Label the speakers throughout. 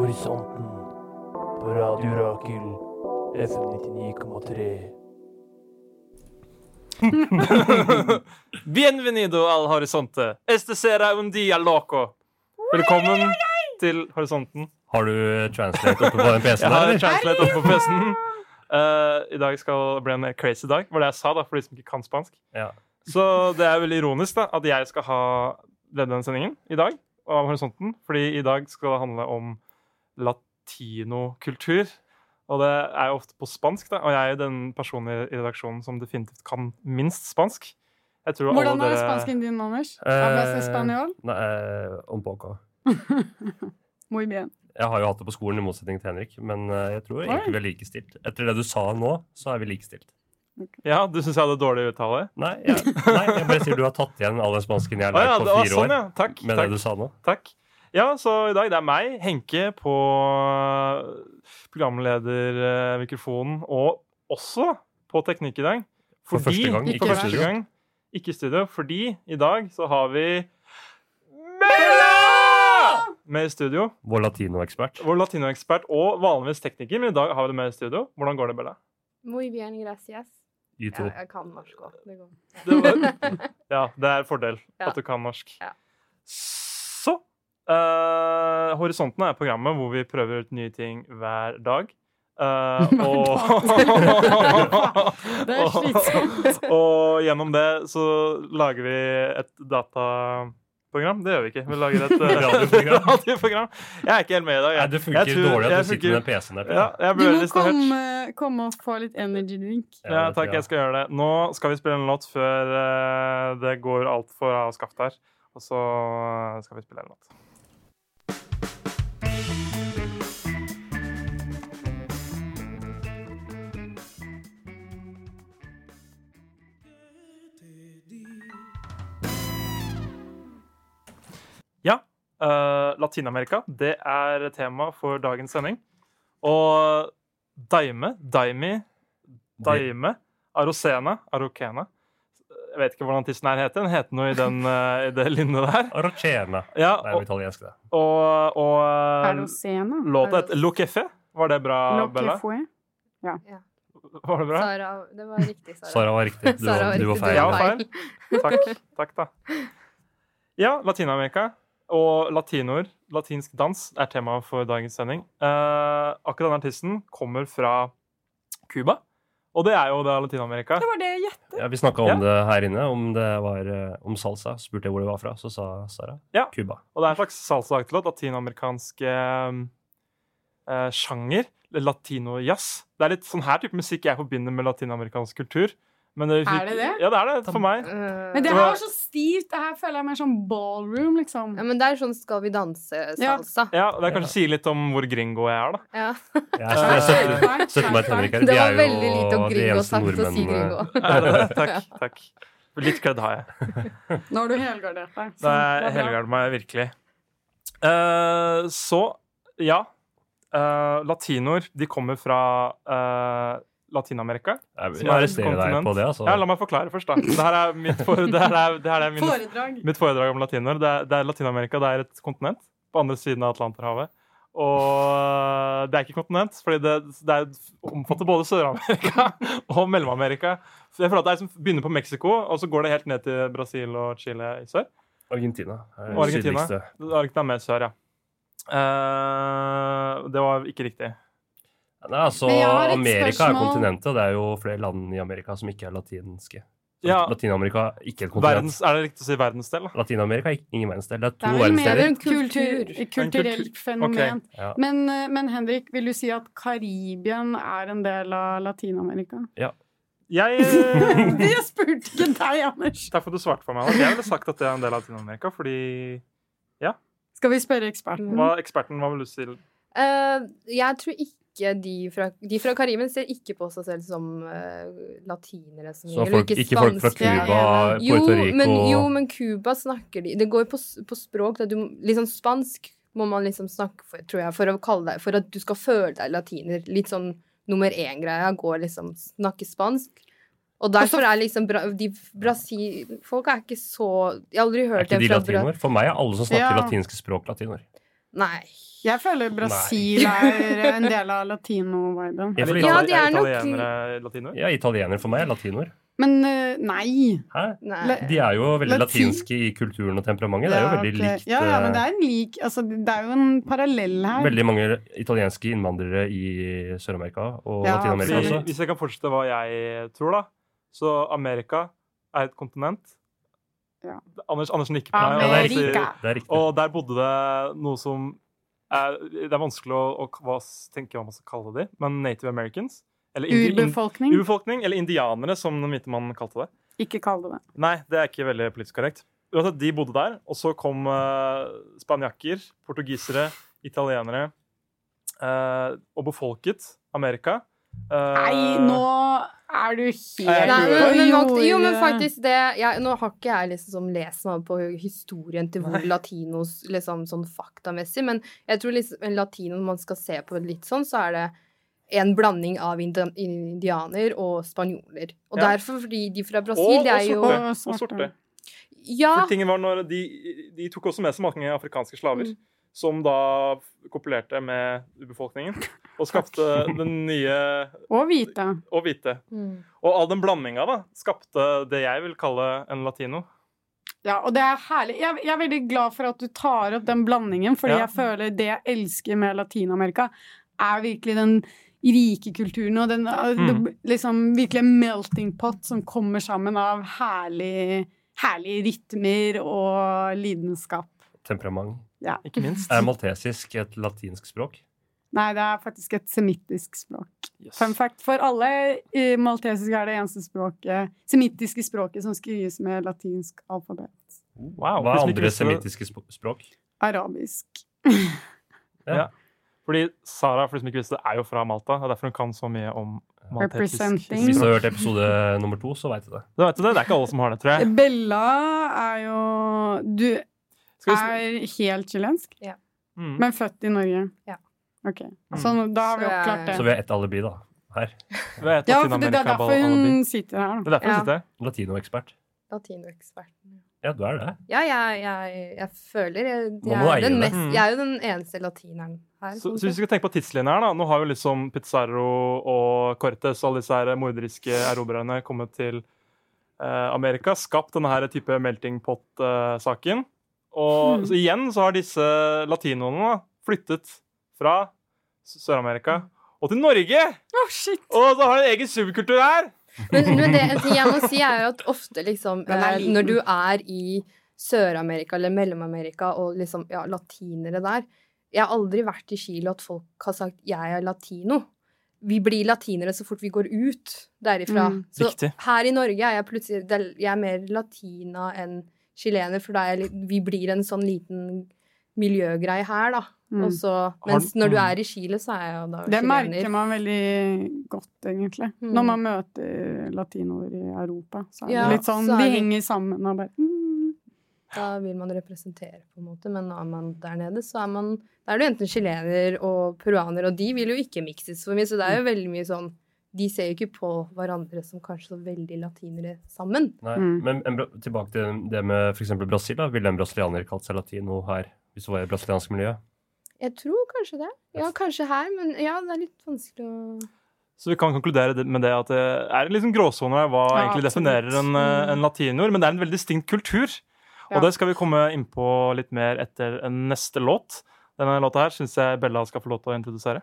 Speaker 1: Horisonten på Radio Rakel FM 99,3.
Speaker 2: Bienvenido al horisonte. Este será un día loco. Velkommen til horisonten.
Speaker 3: Har du eh, translate oppe på den
Speaker 2: Jeg
Speaker 3: PC-en
Speaker 2: har
Speaker 3: der?
Speaker 2: en
Speaker 3: eller?
Speaker 2: translate oppe på PC-en. Eh, I dag skal bli en mer crazy dag, var det jeg sa da, for de som ikke kan spansk.
Speaker 3: Ja.
Speaker 2: Så det er veldig ironisk da, at jeg skal ha lede den sendingen i dag, av horisonten, fordi i dag skal det handle om latinokultur. Og det er jo ofte på spansk, da, og jeg er jo den personen i i redaksjonen som definitivt kan minst spansk. Jeg tror alle
Speaker 4: Hvordan er det
Speaker 2: dere-
Speaker 4: spansken din, Anders?
Speaker 3: Eh,
Speaker 4: Hablas español?
Speaker 3: Nei, eh, om poco.
Speaker 4: Muy bien.
Speaker 3: Jeg har jo hatt det på skolen, i motsetning til Henrik, men eh, jeg tror egentlig vi er likestilt. Etter det du sa nå, så er vi likestilt.
Speaker 2: Ja, du syns jeg hadde dårlig uttale?
Speaker 3: Nei, jeg, nei, jeg bare sier du har tatt igjen all den spansken jeg har
Speaker 2: Å ja,
Speaker 3: lært
Speaker 2: det
Speaker 3: på
Speaker 2: var
Speaker 3: fire
Speaker 2: sånn,
Speaker 3: år.
Speaker 2: ja. Takk.
Speaker 3: Med
Speaker 2: takk,
Speaker 3: det du sa nå.
Speaker 2: takk. Ja, så i dag det er meg, Henke, på eh, programledermikrofonen, og også på teknikk i dag.
Speaker 3: For første gang,
Speaker 4: ikke
Speaker 2: for
Speaker 4: i
Speaker 2: første
Speaker 3: studio.
Speaker 2: gang, ikke i studio. Fordi i dag så har vi Mella! Med i studio.
Speaker 3: Vår latinoekspert.
Speaker 2: Vår latinoekspert og vanligvis tekniker, men i dag har vi det med i studio. Hvordan går det, Bella?
Speaker 5: Muy bien, gracias.
Speaker 3: You
Speaker 5: Ja,
Speaker 3: too.
Speaker 5: jeg kan norsk òg. Det går.
Speaker 2: Det var, ja, det er en fordel
Speaker 5: Ja.
Speaker 2: at du kan norsk.
Speaker 5: Ja.
Speaker 2: Så eh, Horisonten er programmet hvor vi prøver ut nye ting hver dag. Eh, og,
Speaker 4: Det er slitsomt.
Speaker 2: og gjennom det så lager vi et dataprogram. Det gjør vi ikke. Vi lager et eh,
Speaker 3: Radioprogram.
Speaker 2: radioprogram. Jeg er ikke helt med i dag.
Speaker 3: Nei,
Speaker 2: Jeg,
Speaker 3: det funker
Speaker 2: jeg tror-
Speaker 3: dårlig
Speaker 2: jeg
Speaker 3: at du sitter
Speaker 2: funker-
Speaker 3: med den PC-en der.
Speaker 2: ja,
Speaker 3: Peter.
Speaker 2: jeg
Speaker 4: Du
Speaker 2: ble
Speaker 4: må
Speaker 2: litt distrahert.
Speaker 4: komme, komme og få litt energy drink.
Speaker 2: Ja,
Speaker 3: det tror
Speaker 2: takk, jeg skal gjøre det. Nå skal vi spille en låt før eh, det går altfor av skaftet her. Og så eh, skal vi spille en låt. Ja, eh, Latin-Amerika, det er tema for dagens sending. Og Daime, Daimi
Speaker 3: Det-
Speaker 2: Daime. Arocena. Arocena. Jeg vet ikke hvordan tissen her heter. Den heter noe i, den, eh, i det linnet der.
Speaker 3: Arrocena.
Speaker 2: Ja,
Speaker 3: Det er jo
Speaker 2: og,
Speaker 3: italiensk, det.
Speaker 2: og, eh,
Speaker 4: Er det
Speaker 2: og
Speaker 4: å se nå?
Speaker 2: låta het Lo Café. Var det bra,
Speaker 4: Lo que
Speaker 2: Bella?
Speaker 4: fue.
Speaker 2: Var det bra?
Speaker 5: Sara, det var riktig, Sara.
Speaker 3: Sara var riktig. Du,
Speaker 5: Sara
Speaker 3: var, du var
Speaker 5: riktig,
Speaker 3: feil.
Speaker 2: Ja, feil. Takk. Takk, da. Ja, Latin-Amerika og latinoer, latinsk dans, er temaet for dagens sending. Eh, akkurat den artisten kommer fra Cuba, og det er jo da Latin-Amerika.
Speaker 4: Det var det jeg gjettet.
Speaker 3: Ja, vi snakka om det her inne, om det var eh, om salsa. Spurte jeg hvor det var fra, så sa Sara
Speaker 2: Ja.
Speaker 3: Cuba.
Speaker 2: Og det er en slags salsa-aktig låt. Latinamerikansk eh, eh, sjanger. eller Latino-jazz. Det er litt sånn her type musikk jeg forbinder med latinamerikansk kultur. Men det
Speaker 4: Er det det?
Speaker 2: Ja, det er det for meg.
Speaker 5: Eh,
Speaker 4: Men det
Speaker 2: Det
Speaker 4: her
Speaker 2: var-
Speaker 4: var så stivt. Det her føler jeg mer som ballroom, liksom.
Speaker 5: ja, men det er sånn Skal vi
Speaker 4: Ja.
Speaker 5: danse-salsa.
Speaker 2: Ja, Det kanskje sier litt om hvor gringo jeg er, da.
Speaker 5: Ja.
Speaker 3: Jeg, jeg støtter, støtter meg til Henrik her.
Speaker 5: Det
Speaker 3: De
Speaker 5: var
Speaker 3: er jo
Speaker 5: veldig lite om
Speaker 3: de
Speaker 5: gringo
Speaker 3: eneste eh,
Speaker 5: sagt å si
Speaker 3: nordmennene-
Speaker 5: gringo.
Speaker 2: Er det det? Takk. takk. Litt kødd har jeg.
Speaker 4: Nå har du helgardert deg.
Speaker 2: Det er
Speaker 4: Sånn, bra.
Speaker 2: helgarder meg virkelig. Eh, så, ja. Eh, latinoer, de kommer fra eh, Latin-Amerika.
Speaker 3: Jeg vil
Speaker 2: Som er et
Speaker 3: arrestere deg
Speaker 2: kontinent.
Speaker 3: på det, altså.
Speaker 2: Ja, la meg forklare først, da. Det her er mitt for, det her er, det her er mine
Speaker 4: Foredrag.
Speaker 2: Mitt foredrag om latiner. Det er, det er Latin-Amerika. Det er et kontinent på andre siden av Atlanterhavet. Og det er ikke kontinent, fordi det, det er, omfatter både Sør-Amerika og Mellom-Amerika. Så jeg føler at Det er som begynner på Mexico, og så går det helt ned til Brasil og Chile i sør.
Speaker 3: Argentina. er
Speaker 2: Og Argentina.
Speaker 3: sydligste.
Speaker 2: Det er ikke noe mer sør, ja. Eh, det var ikke riktig.
Speaker 3: Nei, altså,
Speaker 4: Men jeg har et
Speaker 3: Amerika er
Speaker 4: spørsmål.
Speaker 3: kontinentet, og det er jo flere land i Amerika som ikke er latinske.
Speaker 2: Ja,
Speaker 3: Latin-Amerika er ikke et kontinent.
Speaker 2: verdens, Er det riktig å si verdensdel? da?
Speaker 3: Latin-Amerika er ingen verdensdel. Det er
Speaker 4: Det
Speaker 3: to
Speaker 4: er vel mer
Speaker 3: verdensdeler.
Speaker 4: en kultur, kulturelt fenomen.
Speaker 3: Ja.
Speaker 4: Men, eh, men Henrik, vil du si at Karibien er en del av Latin-Amerika?
Speaker 2: Jeg eh,
Speaker 4: Det spurte ikke deg, Anders!
Speaker 2: Takk for at du svarte for meg. Anders. Jeg ville sagt at det er en del av Latin-Amerika, fordi
Speaker 4: Skal vi spørre eksperten?
Speaker 2: hva, Eksperten, hva vil du si?
Speaker 5: Eh, jeg tror ikke de fra, de fra Karibien ser ikke på seg selv som eh, latinere. Som
Speaker 3: Så
Speaker 5: regel,
Speaker 3: folk,
Speaker 5: og
Speaker 3: ikke folk fra
Speaker 5: spanske.
Speaker 3: Cuba,
Speaker 5: Jo,
Speaker 3: Puerto Rico
Speaker 5: men, jo, men Cuba snakker de Det går på, s- på språk. Da. Du, m- liksom spansk må man liksom snakke for, tror jeg, for, å kalle deg, for at du skal føle deg latiner. Litt sånn nummer én-greia går liksom snakke spansk. Og derfor er liksom bra, de Brasil... Folk er ikke så Jeg har aldri
Speaker 3: Er
Speaker 5: hørt
Speaker 3: ikke
Speaker 5: en
Speaker 3: de
Speaker 5: fra Brasil.
Speaker 3: latinoer? For meg er alle som snakker
Speaker 4: Ja.
Speaker 3: latinske språk, latinoer.
Speaker 5: Nei.
Speaker 4: Jeg føler Brasil er en del av latino-viben.
Speaker 3: Ja,
Speaker 2: Er
Speaker 3: fordi-
Speaker 2: itali-
Speaker 5: Ja, de er nok-
Speaker 2: italienere latinoer?
Speaker 3: Ja, italienere for meg er latinoer.
Speaker 4: Men eh, nei.
Speaker 3: Hæ?
Speaker 5: Nei.
Speaker 4: Le-
Speaker 3: De er jo veldig
Speaker 4: Latin-
Speaker 3: latinske i kulturen og temperamentet. Det er jo
Speaker 4: Ja,
Speaker 3: veldig
Speaker 4: ok.
Speaker 3: likt
Speaker 4: Ja, ja, men det
Speaker 3: eh,
Speaker 4: er en lik altså, Det er jo en parallell her.
Speaker 3: Veldig mange italienske innvandrere i Sør-Amerika og
Speaker 4: Ja,
Speaker 3: Latin-Amerika også.
Speaker 4: absolutt.
Speaker 2: Hvis hvis jeg kan fortsette hva jeg tror, da. Så Amerika er et kontinent.
Speaker 4: Ja.
Speaker 2: Anders, Anders nikker på meg. og det er riktig.
Speaker 4: Amerika.
Speaker 3: Det er riktig.
Speaker 2: Og der bodde det noe som er, Det er vanskelig å, å hva, s- tenke hva man skal kalle de, men Native Americans. Eller indi- in-
Speaker 4: Urbefolkning.
Speaker 2: urbefolkning, eller indianere, som den hvite mannen kalte det.
Speaker 4: Ikke kall det det.
Speaker 2: Nei, det er ikke veldig politisk korrekt. Uansett, de bodde der, og så kom eh, spanjakker, portugisere, italienere eh, og befolket Amerika. Eh,
Speaker 4: Nei, nå er du
Speaker 2: Nei,
Speaker 4: helt
Speaker 5: Nei,
Speaker 2: tror-
Speaker 5: men, men,
Speaker 4: på
Speaker 5: fakt- jo, men
Speaker 4: jordet.
Speaker 5: faktisk det jeg, Nå har ikke jeg liksom sånn lest meg opp på historien til hvor latinos liksom sånn faktamessig, men jeg tror liksom en latino når man skal se på litt sånn, så er det en blanding av indi- indianer og spanjoler. Og
Speaker 2: Ja.
Speaker 5: derfor, fordi de fra Brasil,
Speaker 2: Og-
Speaker 5: det
Speaker 2: og
Speaker 5: er jo
Speaker 2: sorte.
Speaker 4: Og
Speaker 2: og sorte.
Speaker 4: svarte.
Speaker 5: Ja,
Speaker 2: For tingen var når de, de tok også med seg mange afrikanske slaver,
Speaker 5: Mm.
Speaker 2: som da kopulerte med befolkningen og skapte den nye
Speaker 4: Og hvite.
Speaker 2: og hvite.
Speaker 5: Mm.
Speaker 2: Og all den blandinga da, skapte det jeg vil kalle en latino.
Speaker 4: Ja, og det er herlig. Jeg, jeg er veldig glad for at du tar opp den blandingen, fordi
Speaker 2: Ja.
Speaker 4: jeg føler det jeg elsker med Latin-Amerika, er virkelig den rike kulturen og den uh,
Speaker 2: Mm.
Speaker 4: det- liksom virkelig en melting pot som kommer sammen av herlig, herlige rytmer og lidenskap.
Speaker 3: Temperament.
Speaker 2: Ikke minst.
Speaker 3: Er maltesisk et latinsk språk?
Speaker 4: Nei, det er faktisk et semittisk språk.
Speaker 2: Yes.
Speaker 4: Fun fact for alle, eh, maltesisk er det eneste språket, semittiske språket som skrives med latinsk alfabet.
Speaker 2: Wow,
Speaker 3: Hva
Speaker 2: hvis
Speaker 3: er
Speaker 2: vi ikke
Speaker 3: andre
Speaker 2: visste det-
Speaker 3: semittiske sp- språk?
Speaker 4: Arabisk.
Speaker 2: Fordi Sara for de som ikke visste det, er jo fra Malta. Det er derfor hun kan så mye om maltesisk
Speaker 4: Representing.
Speaker 3: Hvis du
Speaker 2: historie.
Speaker 3: har hørt episode nummer to, så veit du det.
Speaker 2: Da vet du det, det er ikke alle som har det, tror jeg.
Speaker 4: Bella er jo Du
Speaker 2: Skal vi sn-
Speaker 4: er helt chilensk,
Speaker 2: mm.
Speaker 4: men født i Norge.
Speaker 5: Ja.
Speaker 4: Ok, Så nå- da har vi
Speaker 5: Så jeg-
Speaker 4: oppklart
Speaker 3: Så
Speaker 4: det.
Speaker 3: vi har ett alibi, da. Her.
Speaker 2: Det er et
Speaker 4: Ja, for det, det er derfor
Speaker 2: Latinamerika-alibi.
Speaker 4: hun sitter her,
Speaker 2: Det
Speaker 4: da.
Speaker 2: er derfor hun
Speaker 5: Ja.
Speaker 2: sitter her.
Speaker 3: Latinoekspert.
Speaker 5: latinoeksperten.
Speaker 3: Ja, du er det.
Speaker 5: Ja, jeg, jeg, jeg føler jeg,
Speaker 3: Nå må
Speaker 5: jeg, er
Speaker 3: du eie
Speaker 5: den
Speaker 3: det.
Speaker 5: mest,
Speaker 2: Mm.
Speaker 5: jeg er jo den eneste latineren her.
Speaker 2: Så, så
Speaker 5: sånn
Speaker 2: hvis
Speaker 5: sett.
Speaker 2: vi skal tenke på tidslinjen her, da. Nå har jo liksom Pizarro og Cortes, alle disse her morderiske erobrerne, kommet til eh, Amerika. Skapt denne her type melting pot-saken. og
Speaker 4: Mm.
Speaker 2: så igjen så har disse latinoene da, flyttet fra S- Sør-Amerika og til Norge!
Speaker 4: Hmm. Å, shit!
Speaker 2: Og så har de en egen subkultur her!
Speaker 5: Men, men det, en ting jeg må si, er jo at ofte liksom
Speaker 4: Den er
Speaker 5: eh,
Speaker 4: liten.
Speaker 5: Når du er i Sør-Amerika eller Mellom-Amerika og liksom ja, latinere der Jeg har aldri vært i Chile at folk har sagt 'jeg er latino'. Vi blir latinere så fort vi går ut derifra.
Speaker 4: Mm.
Speaker 5: Så
Speaker 2: Riktig.
Speaker 5: her i Norge er jeg plutselig det er- Jeg er mer latina enn chilener, for da er jeg, litt- vi blir en sånn liten miljøgreie her, da.
Speaker 4: Mm.
Speaker 5: Og så, mens
Speaker 2: Har-
Speaker 5: når du
Speaker 2: mm.
Speaker 5: er i Chile, så er jeg jo da
Speaker 4: Det
Speaker 5: chilener.
Speaker 4: merker man veldig godt, egentlig.
Speaker 5: Mm.
Speaker 4: Når man møter latinoer i Europa, så er det
Speaker 5: Ja,
Speaker 4: litt sånn
Speaker 5: så er
Speaker 4: De
Speaker 5: det-
Speaker 4: henger sammen og bare mm.
Speaker 5: Da vil man representere, på en måte. Men er man der nede, så er man Da er det enten chilener og peruaner, og de vil jo ikke mikses for mye, så det er jo veldig mye sånn De ser jo ikke på hverandre som kanskje så veldig latinere sammen.
Speaker 3: Nei.
Speaker 4: Mm.
Speaker 3: Men en, bra- tilbake til det med f.eks. Brasil. da. Ville en brasilianer kalt seg latino her? Hvis det var i det brasilianske miljøet?
Speaker 5: Jeg tror kanskje det. Ja, kanskje her, men ja, det er litt vanskelig å
Speaker 2: Så vi kan konkludere det- med det at det er en liksom gråsone her hva
Speaker 4: Ja,
Speaker 2: egentlig
Speaker 4: absolutt. Mm.
Speaker 2: definerer en, eh, en latinoer, men det er en veldig distinkt kultur.
Speaker 4: Ja.
Speaker 2: Og det skal vi komme inn på litt mer etter en neste låt. Denne låta her syns jeg Bella skal få lov til å introdusere.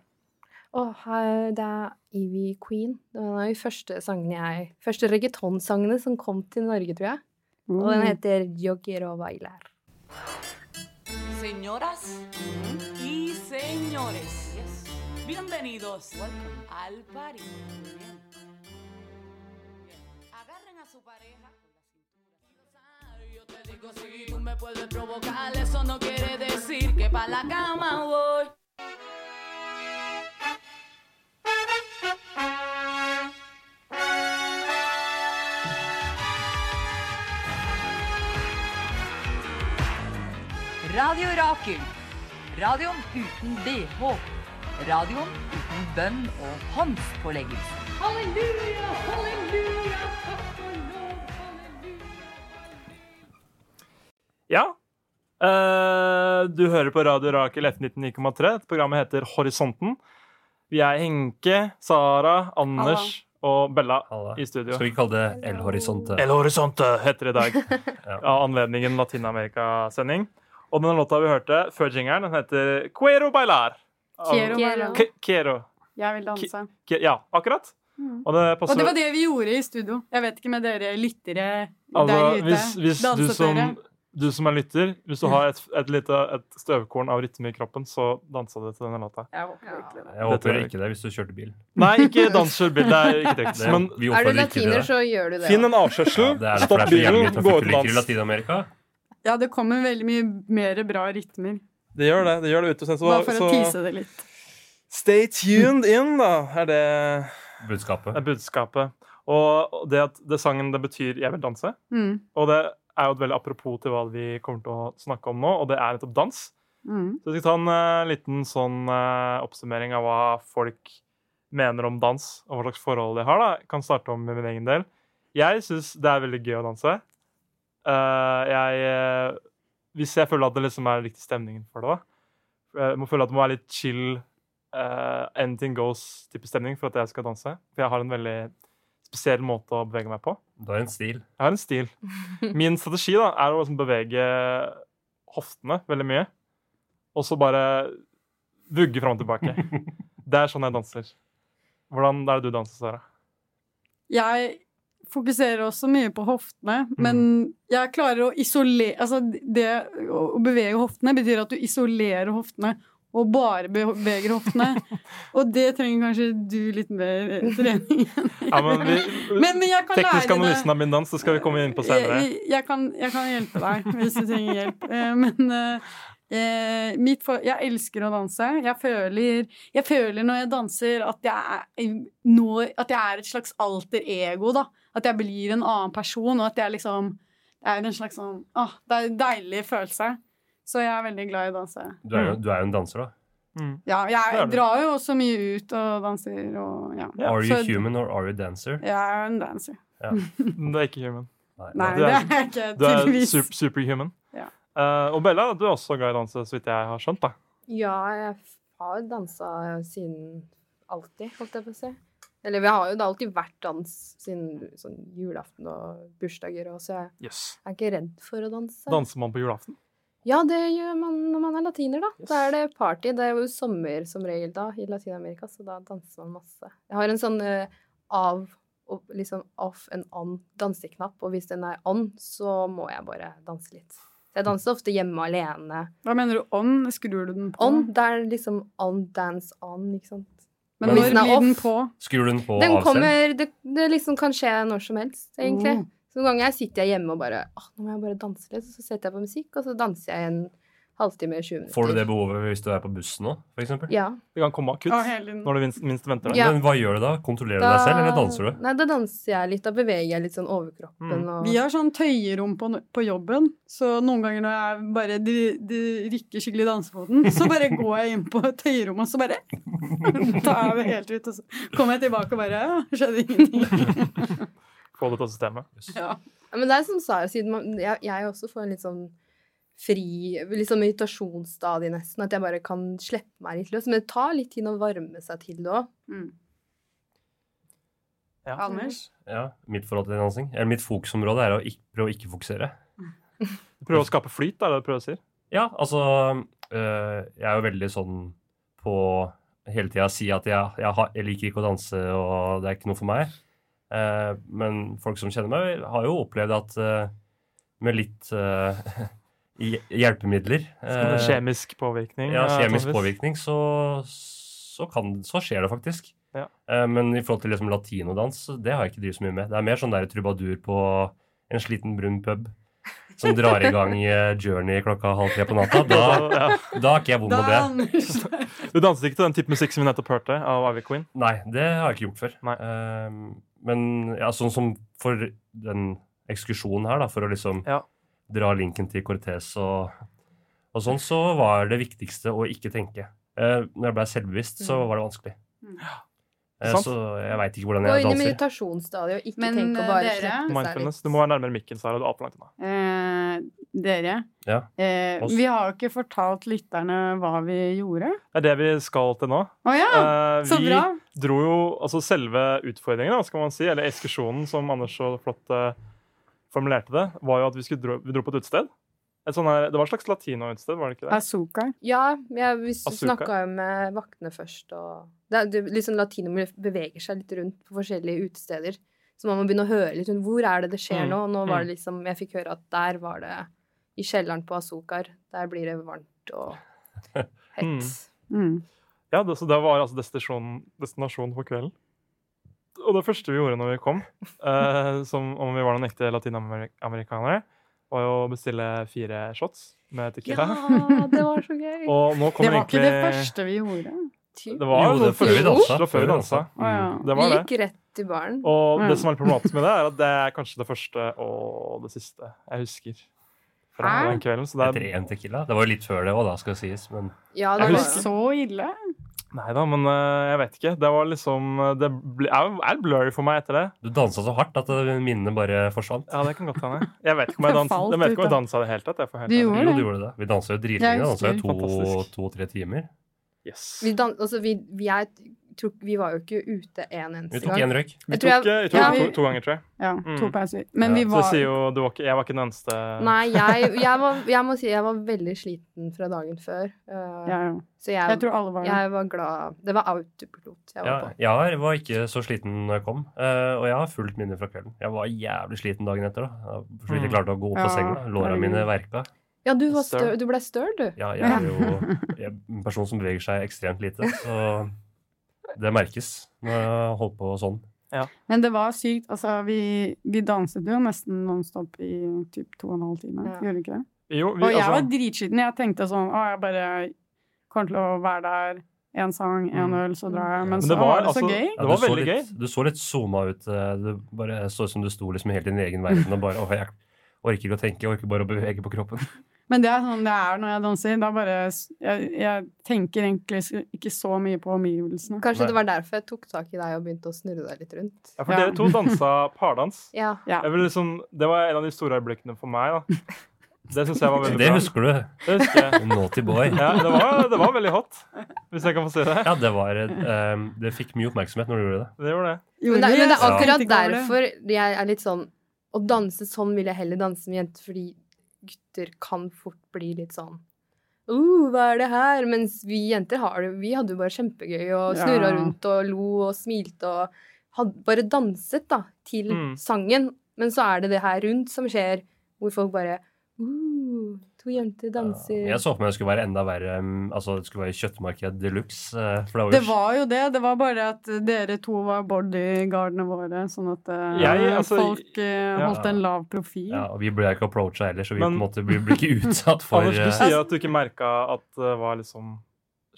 Speaker 5: Å, her- det er Evie Queen. Det var en av de første sangene jeg Første reggaetonsangene som kom til Norge, tror jeg. Og den heter Yo quiero bailar.
Speaker 6: Señoras y señores, bienvenidos al party. Agarren a su pareja. Yo te digo si tú me puedes provocar, eso no quiere decir que pa' la cama voy.
Speaker 7: Radio Rakel. Radioen uten BH. Radioen uten bønn og håndspåleggelse.
Speaker 6: Halleluja, halleluja, takk og lov, halleluja.
Speaker 2: Ja. Eh, du hører på Radio Rakel F99,3. Programmet heter Horisonten. Vi er Henke, Sara, Anders og Bella
Speaker 3: Halla.
Speaker 2: i studio.
Speaker 3: Skal vi kalle det El Horizonte?
Speaker 2: El Horisonte heter det i dag.
Speaker 3: Ja.
Speaker 2: Av anledningen Latin-Amerika-sending. Og den låta vi hørte før jingeren, den heter Quero Bailar. Av-
Speaker 4: Quiero
Speaker 5: Quiero.
Speaker 4: være-
Speaker 2: K- Quiero.
Speaker 4: Jeg vil danse.
Speaker 2: Ki- Ja, akkurat.
Speaker 4: Mm.
Speaker 2: Og det
Speaker 4: Og
Speaker 2: passer
Speaker 4: det var det vi gjorde i studio. Jeg vet ikke med dere lyttere der
Speaker 2: Altså,
Speaker 4: ute.
Speaker 2: hvis, hvis du,
Speaker 4: Danset
Speaker 2: som,
Speaker 4: dere? Mm.
Speaker 2: du som er lytter, hvis du har et, et lite et støvkorn av rytme i kroppen, så dansa du til denne låta.
Speaker 4: Jeg håper virkelig det.
Speaker 3: Jeg
Speaker 2: Det tror
Speaker 3: håper
Speaker 2: jeg
Speaker 3: ikke det, hvis du kjørte bil.
Speaker 2: Nei, ikke danser bil. Det er ikke tekst.
Speaker 3: Det,
Speaker 2: Men
Speaker 3: vi
Speaker 5: Er du
Speaker 3: oppfordrer ikke til
Speaker 5: latiner,
Speaker 3: det.
Speaker 5: så gjør du det.
Speaker 2: finn en
Speaker 3: Ja,
Speaker 2: avkjørsel,
Speaker 3: det er derfor
Speaker 2: stopp
Speaker 3: det er så jævlig mye
Speaker 2: bilen, gå ut og
Speaker 3: trafikkulykker i
Speaker 2: dans.
Speaker 3: Latin-Amerika.
Speaker 4: Ja, det kommer veldig mye mer bra rytmer.
Speaker 2: Det gjør det. det gjør det ute. Så,
Speaker 4: Bare for å
Speaker 2: så
Speaker 4: tease det litt.
Speaker 2: stay tuned in, da, er det,
Speaker 3: Budskapet.
Speaker 2: er budskapet. Og det at det sangen det betyr 'jeg vil danse',
Speaker 4: Mm.
Speaker 2: og det er jo et veldig apropos til hva vi kommer til å snakke om nå, og det er nettopp dans.
Speaker 4: Mm.
Speaker 2: Så jeg skal ta en eh, liten sånn eh, oppsummering av hva folk mener om dans, og hva slags forhold de har. da. Jeg kan starte om med min egen del. Jeg syns det er veldig gøy å danse. Eh, jeg, eh, hvis jeg føler at det liksom er riktig stemningen for det, da. Eh, Jeg må føle at det må være litt chill, eh, anything goes-type stemning for at jeg skal danse. For jeg har en veldig spesiell måte å bevege meg på.
Speaker 3: Du har en stil.
Speaker 2: Jeg har en stil. Min strategi da, er å liksom bevege hoftene veldig mye. Og så bare vugge fram og tilbake. Det er sånn jeg danser. Hvordan er det du danser, Sara?
Speaker 4: Jeg fokuserer også mye på hoftene, men jeg klarer å isolere Altså, det å å bevege hoftene betyr at du isolerer hoftene og bare beveger hoftene. og det trenger kanskje du litt mer eh, trening.
Speaker 2: Ja, men vi,
Speaker 4: Men, men jeg kan
Speaker 2: teknisk
Speaker 4: lære
Speaker 2: analysen av min dans det skal vi komme inn på senere.
Speaker 4: Jeg, jeg, kan, jeg kan hjelpe deg hvis du trenger hjelp. Eh, Men eh, eh, mitt for, jeg elsker å danse. Jeg føler, jeg føler når jeg danser, at jeg, er, når, at jeg er et slags alter ego. Da. At jeg blir en annen person, og at jeg liksom det er en slags sånn ah, Det er en deilig følelse. Så jeg er veldig glad i å danse.
Speaker 3: Du er jo, du er jo en danser, da.
Speaker 2: Mm.
Speaker 4: Ja,
Speaker 2: Det er
Speaker 4: jeg
Speaker 2: du.
Speaker 4: drar jo også mye ut og danser og ja.
Speaker 2: Ja,
Speaker 3: Are you
Speaker 4: så-
Speaker 3: human or are you dancer?
Speaker 4: Jeg er jo en dancer.
Speaker 2: Det er ikke human.
Speaker 4: Nei,
Speaker 2: Du
Speaker 4: det
Speaker 2: er-
Speaker 4: er jeg ikke,
Speaker 2: Du er
Speaker 4: tydeligvis.
Speaker 2: super, superhuman.
Speaker 4: Ja.
Speaker 2: Eh, og Bella, du er også glad i å danse, så vidt jeg har skjønt. da.
Speaker 5: Ja, jeg har dansa siden alltid, holdt jeg på å si. Eller vi har jo det har alltid vært dans siden sånn julaften og bursdager og så jeg
Speaker 2: Yes.
Speaker 5: er ikke redd for å danse.
Speaker 2: Danser man på julaften?
Speaker 5: Ja, det gjør man når man er latiner, da.
Speaker 2: Yes.
Speaker 5: Da er det party. Det er jo sommer som regel da i Latin-Amerika, så da danser man masse. Jeg har en sånn eh, av og liksom off and on danseknapp, og hvis den er on, så må jeg bare danse litt. Så jeg danser ofte hjemme alene.
Speaker 4: Hva mener du on? Skrur du den på?
Speaker 5: On, det er liksom on, dance on, ikke sant.
Speaker 4: Men
Speaker 3: Men
Speaker 4: når
Speaker 5: hvis den er
Speaker 4: blir den
Speaker 5: off-
Speaker 4: på?
Speaker 3: Skrur du den på
Speaker 5: Den
Speaker 3: av selv?
Speaker 5: kommer det, det liksom kan skje når som helst, egentlig.
Speaker 4: Mm.
Speaker 5: Så noen ganger sitter jeg hjemme og bare Åh, nå må jeg bare danse litt. Så setter jeg på musikk, og så danser jeg en halvtime, 20 minutter.
Speaker 3: Får du det behovet hvis du er på bussen nå, f.eks.?
Speaker 5: Ja.
Speaker 2: Det kan komme akutt
Speaker 4: Ja, hele tiden.
Speaker 2: når du minst, minst venter det.
Speaker 5: Ja.
Speaker 3: Men hva gjør du da? Kontrollerer du deg selv, eller danser du?
Speaker 5: Nei, da danser jeg litt. Da beveger jeg litt sånn overkroppen
Speaker 2: Mm.
Speaker 5: og
Speaker 4: Vi har sånn tøyerom på, på jobben, så noen ganger når jeg bare de, de rykker skikkelig i dansefoten, så bare går jeg inn på tøyerommet, og så bare tar jeg det helt ut, og så kommer jeg tilbake og bare ja, skjedde ingenting.
Speaker 2: Få det til systemet.
Speaker 4: Ja.
Speaker 5: Ja, Men det er som Sara sier, man, jeg, jeg også får en litt sånn fri Litt sånn meditasjonsstadie, nesten. At jeg bare kan slippe meg litt løs. Men det tar litt tid å varme seg til det òg.
Speaker 4: Mm.
Speaker 2: Ja.
Speaker 4: Anders?
Speaker 3: Ja, Mitt forhold til dansing? Eller mitt fokusområde er å ikke, prøve å ikke fokusere.
Speaker 2: Prøve å skape flyt, er det du prøver
Speaker 4: Eh,
Speaker 2: å si?
Speaker 3: Ja, altså øh, Jeg er jo veldig sånn på hele tida si at jeg, jeg, har, jeg liker ikke å danse, og det er ikke noe for meg. Eh, men folk som kjenner meg, har jo opplevd at eh, med litt eh, hj- hjelpemidler
Speaker 2: Sånn
Speaker 3: eh,
Speaker 2: Kjemisk påvirkning.
Speaker 3: Ja,
Speaker 2: eh,
Speaker 3: kjemisk
Speaker 2: antageligvis.
Speaker 3: påvirkning, så, så, kan, så skjer det faktisk.
Speaker 2: Ja.
Speaker 3: Eh, Men i forhold til liksom latinodans, det har jeg ikke drevet så mye med. Det er mer sånn der trubadur på en sliten brun pub som drar i gang eh, journey klokka halv tre på natta. Da,
Speaker 2: Ja.
Speaker 3: da er ikke jeg vond
Speaker 4: Da
Speaker 3: med
Speaker 4: er
Speaker 3: det.
Speaker 4: Anders
Speaker 2: Du danset ikke til den type musikk som vi nettopp hørte av Ivy Queen?
Speaker 3: Nei, det har jeg ikke gjort før.
Speaker 2: Nei.
Speaker 3: Eh, Men ja, sånn som for den ekskursjonen her, da, for å liksom
Speaker 2: Ja.
Speaker 3: dra linken til Cortez og, og sånn, så var det viktigste å ikke tenke. Eh, når jeg ble selvbevisst, så var det vanskelig. Eh,
Speaker 2: Sant.
Speaker 3: Så jeg veit ikke hvordan
Speaker 5: Gå
Speaker 3: jeg
Speaker 5: inn i
Speaker 3: danser.
Speaker 5: meditasjonsstadiet og ikke
Speaker 4: Men,
Speaker 5: tenk å bare
Speaker 4: eh, dere?
Speaker 5: slippe seg litt.
Speaker 2: Mindfulness. Du må være nærmere mikken, Sara. Du er altfor langt unna.
Speaker 4: Eh, dere,
Speaker 3: Ja.
Speaker 4: eh,
Speaker 3: Oss.
Speaker 4: vi har jo ikke fortalt lytterne hva vi gjorde.
Speaker 2: Det er det vi skal til nå.
Speaker 4: Å ja!
Speaker 2: Eh,
Speaker 4: Så
Speaker 2: vi
Speaker 4: bra!
Speaker 2: dro jo altså selve utfordringen, da, skal man si, eller ekskursjonen, som Anders så flott eh, formulerte det, var jo at vi, skulle dro, vi dro på et utested. Et sånn her, det var et slags latino-utested, var det ikke det?
Speaker 4: Azuka.
Speaker 5: Ja, jeg vi
Speaker 2: Asuka.
Speaker 5: snakka jo med vaktene først, og det er, det, liksom Latinomer beveger seg litt rundt på forskjellige utesteder. Så man må begynne å høre litt rundt hvor er det det skjer
Speaker 2: Mm,
Speaker 5: nå. Og nå var det liksom Jeg fikk høre at der var det i kjelleren på Azokar. Der blir det varmt og
Speaker 2: Mm.
Speaker 5: hett.
Speaker 4: Mm.
Speaker 2: Ja, det, så det var altså destinasjonen destinasjon for kvelden. Og det første vi gjorde når vi kom, eh, som om vi var noen ekte latinamerikanere, var jo å bestille fire shots med
Speaker 5: Ja,
Speaker 2: tequila.
Speaker 5: det var så gøy!
Speaker 2: Og nå
Speaker 4: Det
Speaker 2: kommer
Speaker 4: var ikke det
Speaker 2: egentlig
Speaker 4: første vi gjorde.
Speaker 5: Typ.
Speaker 2: Det var
Speaker 3: Jo, det
Speaker 2: noe
Speaker 3: er før vi dansa.
Speaker 2: Det var før vi Mm. dansa.
Speaker 4: Å ja.
Speaker 2: Det
Speaker 5: Vi
Speaker 2: var det.
Speaker 5: gikk rett til baren.
Speaker 2: Og
Speaker 4: Ja.
Speaker 2: det som er litt problematisk med det, er at det er kanskje det første og det siste jeg husker fra
Speaker 4: Hæ?
Speaker 2: den kvelden. Så det
Speaker 3: Etter
Speaker 2: er
Speaker 3: én tequila. Det var jo litt før det òg, da, skal sies. Men
Speaker 5: Ja, det
Speaker 4: Er det
Speaker 5: var
Speaker 4: så ille?
Speaker 2: Nei da, men eh, jeg vet ikke. Det var liksom Det ble, er, er blurry for meg etter det.
Speaker 3: du dansa så hardt at eh, minnene bare forsvant.
Speaker 2: Ja, det kan godt hende. Jeg vet ikke om jeg
Speaker 4: Det
Speaker 2: dansa
Speaker 4: falt
Speaker 2: jeg vet ikke om
Speaker 4: ut,
Speaker 2: jeg dansa i det hele tatt. Jeg får helt
Speaker 4: Du
Speaker 2: ærlig.
Speaker 4: gjorde
Speaker 3: Jo,
Speaker 4: det.
Speaker 3: du gjorde det. Vi dansa jo
Speaker 4: Jeg
Speaker 3: dritlenge. da Dansa
Speaker 4: husker.
Speaker 3: jo
Speaker 2: Fantastisk.
Speaker 3: to-tre timer.
Speaker 2: Yes.
Speaker 5: Vi, dan altså, vi, vi, jeg, tror, vi var jo ikke ute en
Speaker 3: Vi
Speaker 5: eneste
Speaker 3: tok
Speaker 5: gang.
Speaker 3: én røyk.
Speaker 2: Vi
Speaker 5: Jeg tror jeg-
Speaker 2: tok, eh, vi tok
Speaker 4: Ja,
Speaker 2: to,
Speaker 4: vi-
Speaker 2: to ganger, tror jeg.
Speaker 4: Ja, to
Speaker 2: Mm.
Speaker 4: pauser. Men
Speaker 3: Ja.
Speaker 4: vi
Speaker 2: Så
Speaker 4: var
Speaker 2: det sier jo du var ikke, Jeg var ikke den eneste
Speaker 5: Nei, jeg, jeg, var, jeg må si jeg var veldig sliten fra dagen før. eh,
Speaker 4: ja, ja.
Speaker 5: Så
Speaker 4: Jeg tror alle var det.
Speaker 5: Jeg var glad Det var autopilot jeg var
Speaker 3: Ja,
Speaker 5: på.
Speaker 3: jeg var ikke så sliten når jeg kom, eh, og jeg har fullt minne fra kvelden. Jeg var jævlig sliten dagen etter. da. Jeg var så vidt jeg klarte å gå opp
Speaker 4: Ja,
Speaker 3: av senga. Låra mine verka.
Speaker 5: Ja, du, var
Speaker 2: Støl.
Speaker 5: støl, du ble støl, du.
Speaker 3: Ja, jeg er jo jeg er en person som beveger seg ekstremt lite, så det merkes når jeg holder på sånn.
Speaker 4: Men det var sykt. Altså, vi, vi danset jo nesten nonstop i typ to og en halv time.
Speaker 5: Ja.
Speaker 4: Gjorde vi ikke det?
Speaker 2: Jo, vi,
Speaker 4: Og jeg var
Speaker 2: altså,
Speaker 4: dritskitten. Jeg tenkte sånn Å, jeg bare kommer til å være der. Én sang, én øl, så drar jeg. Men
Speaker 2: Mm. Men
Speaker 4: så
Speaker 2: det
Speaker 4: var,
Speaker 2: var
Speaker 4: det så
Speaker 2: altså-
Speaker 4: gøy.
Speaker 3: Ja,
Speaker 2: Det var
Speaker 3: du så
Speaker 2: veldig
Speaker 3: litt, Du så litt zooma ut. eh, Det bare så ut som du sto liksom helt i din egen verden og bare Åh, jeg orker ikke å tenke, jeg orker bare å bevege på kroppen.
Speaker 4: Men det er sånn det er når jeg danser. Da bare s- Jeg, jeg tenker egentlig s- ikke så mye på omgivelsene.
Speaker 3: Nei.
Speaker 5: Kanskje det var derfor jeg tok tak i deg og begynte å snurre deg litt rundt.
Speaker 2: ja, for
Speaker 4: Ja.
Speaker 2: dere to dansa pardans.
Speaker 5: Ja.
Speaker 4: Ja.
Speaker 2: Jeg vil liksom, det var en av de store øyeblikkene for meg. da Det syns jeg var veldig
Speaker 3: Det
Speaker 2: bra.
Speaker 3: husker du.
Speaker 2: Det husker jeg.
Speaker 3: Naughty boy.
Speaker 2: Ja, det var, det var veldig hot, hvis jeg kan få si det.
Speaker 3: Ja, det var eh, Det fikk mye oppmerksomhet når du gjorde det.
Speaker 2: Det gjorde det.
Speaker 5: Men det,
Speaker 4: Gjorde vi?
Speaker 5: men det er
Speaker 4: Jeg tenkte
Speaker 5: akkurat
Speaker 4: ikke over det.
Speaker 5: derfor jeg er litt sånn Å danse sånn vil jeg heller danse med jenter, fordi gutter kan fort bli litt sånn Uh, hva er det her? Mens vi jenter har det Vi hadde jo bare kjempegøy og
Speaker 4: Ja.
Speaker 5: snurra rundt og lo og smilte og had, bare danset, da, til
Speaker 2: Mm.
Speaker 5: sangen. Men så er det det her rundt som skjer, hvor folk bare Uh, to jenter danser.
Speaker 3: Jeg så for meg det skulle være enda verre. mm, Altså, det skulle være kjøttmarked de luxe. eh, For det var jo
Speaker 4: Det var jo det. Det var bare at dere to var bodyguardene våre, sånn at eh,
Speaker 2: Jeg, altså,
Speaker 4: folk eh,
Speaker 2: ja.
Speaker 4: holdt en lav profil.
Speaker 3: ja, og Vi ble ikke approacha heller, så vi
Speaker 2: Men-
Speaker 3: på en måte ble, ble ikke utsatt for
Speaker 2: Anders, du
Speaker 3: eh,
Speaker 2: sier at du ikke merka at det var liksom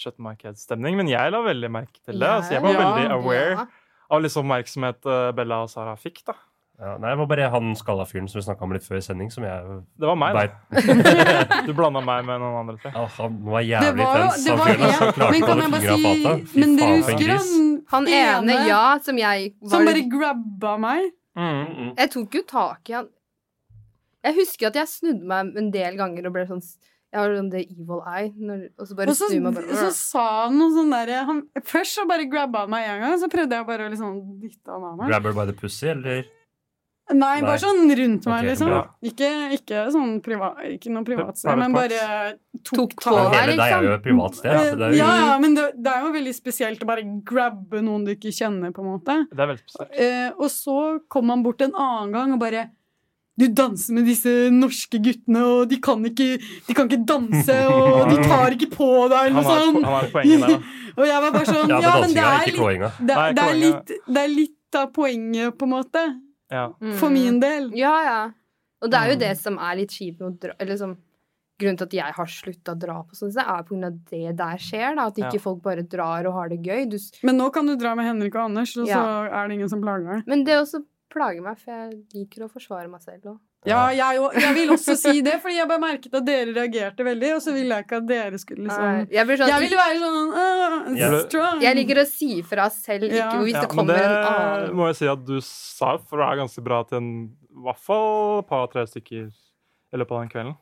Speaker 2: kjøttmarkedsstemning, men jeg la veldig merke til det.
Speaker 5: Ja.
Speaker 2: Altså, jeg var
Speaker 4: Ja.
Speaker 2: veldig aware
Speaker 5: Ja.
Speaker 2: av liksom oppmerksomhet eh, Bella og Sara fikk. da
Speaker 3: eh, ja, Nei, det var bare han skalla fyren som vi snakka om litt før i sending, som jeg
Speaker 2: Det var meg,
Speaker 3: Nei,
Speaker 2: da. Du blanda meg med noen andre, tror jeg.
Speaker 3: ja, han var
Speaker 4: Det
Speaker 3: jævlig
Speaker 4: var jo
Speaker 3: tens.
Speaker 4: det
Speaker 3: Han
Speaker 4: var
Speaker 3: fyren altså,
Speaker 4: en,
Speaker 3: klarte
Speaker 4: Men
Speaker 3: å holde
Speaker 4: kan jeg bare
Speaker 3: fingra på
Speaker 4: si
Speaker 3: fatet. Fy
Speaker 4: Men dere
Speaker 3: faen, for en
Speaker 4: husker
Speaker 3: gris.
Speaker 4: han
Speaker 5: Han ene, ja, som jeg
Speaker 4: som
Speaker 5: var-
Speaker 4: bare grabba meg?
Speaker 2: Mm.
Speaker 3: Mm, mm.
Speaker 5: Jeg tok jo tak i han. Jeg husker at jeg snudde meg en del ganger og ble sånn Jeg var sånn the evil eye, når, og så bare
Speaker 4: Og så,
Speaker 5: snur meg bare
Speaker 4: så sa han noe sånn derre han- Først så bare grabba han meg en gang, så prøvde jeg bare å liksom dytte han av meg.
Speaker 3: Grabber by the pussy, eller? Nei.
Speaker 4: Nei, bare sånn rundt meg,
Speaker 3: Ok,
Speaker 4: liksom.
Speaker 3: bra.
Speaker 4: Ikke, ikke sånn privat Ikke noe privat sted,
Speaker 2: Private
Speaker 4: men
Speaker 2: parts.
Speaker 4: bare
Speaker 5: Tok
Speaker 4: tok
Speaker 5: tå.
Speaker 4: tak.
Speaker 5: Nei,
Speaker 3: Hele deg er jo et privat sted.
Speaker 4: Eh,
Speaker 3: altså, Det er jo
Speaker 4: liksom- Ja, ja, men det, det er jo veldig spesielt å bare grabbe noen du ikke kjenner, på en måte.
Speaker 2: Det er veldig spesielt.
Speaker 4: Eh, og så kom han bort en annen gang og bare du danser med disse norske guttene, og de kan ikke, de kan ikke danse, og de tar ikke på
Speaker 2: Han
Speaker 4: deg, eller sånn.
Speaker 2: har,
Speaker 4: noe sånt.
Speaker 2: han har et poeng der, da.
Speaker 4: Og jeg var bare sånn
Speaker 3: Ja,
Speaker 4: Ja,
Speaker 3: det er
Speaker 4: men det
Speaker 3: dansinga,
Speaker 4: er,
Speaker 3: ikke
Speaker 4: litt,
Speaker 3: kloinga.
Speaker 4: det,
Speaker 2: Nei,
Speaker 4: det, er
Speaker 2: poenget-
Speaker 4: litt, det er litt av poenget, på en måte.
Speaker 2: Ja.
Speaker 5: Mm.
Speaker 4: For min del.
Speaker 5: Ja, ja. Og det er jo
Speaker 2: Mm.
Speaker 5: det som er litt kjipt med å dra Eller som Grunnen til at jeg har slutta å dra på sånne steder, er på grunn av det der skjer, da. At ikke
Speaker 2: Ja.
Speaker 5: folk bare drar og har det gøy. Du, s-
Speaker 4: Men nå kan du dra med Henrik og Anders, og så
Speaker 5: Ja.
Speaker 4: er det ingen som plager deg.
Speaker 5: men det også plager meg, for jeg liker å forsvare meg selv og
Speaker 4: Ja, jeg, og- jeg vil også si det, fordi jeg bare merket at dere reagerte veldig, og så ville jeg ikke at dere skulle
Speaker 5: Nei,
Speaker 4: liksom
Speaker 5: Jeg blir
Speaker 4: Jeg
Speaker 5: sånn
Speaker 4: ville være sånn «Åh,
Speaker 2: Ja.
Speaker 4: strong.
Speaker 5: Jeg liker å si fra selv,
Speaker 4: Ja.
Speaker 5: ikke hvis
Speaker 2: Ja,
Speaker 5: det
Speaker 2: men
Speaker 5: kommer
Speaker 2: det
Speaker 5: en annen
Speaker 2: må jeg si at du sa, for det er ganske bra til en i hvert fall et par-tre stykker i løpet av den kvelden.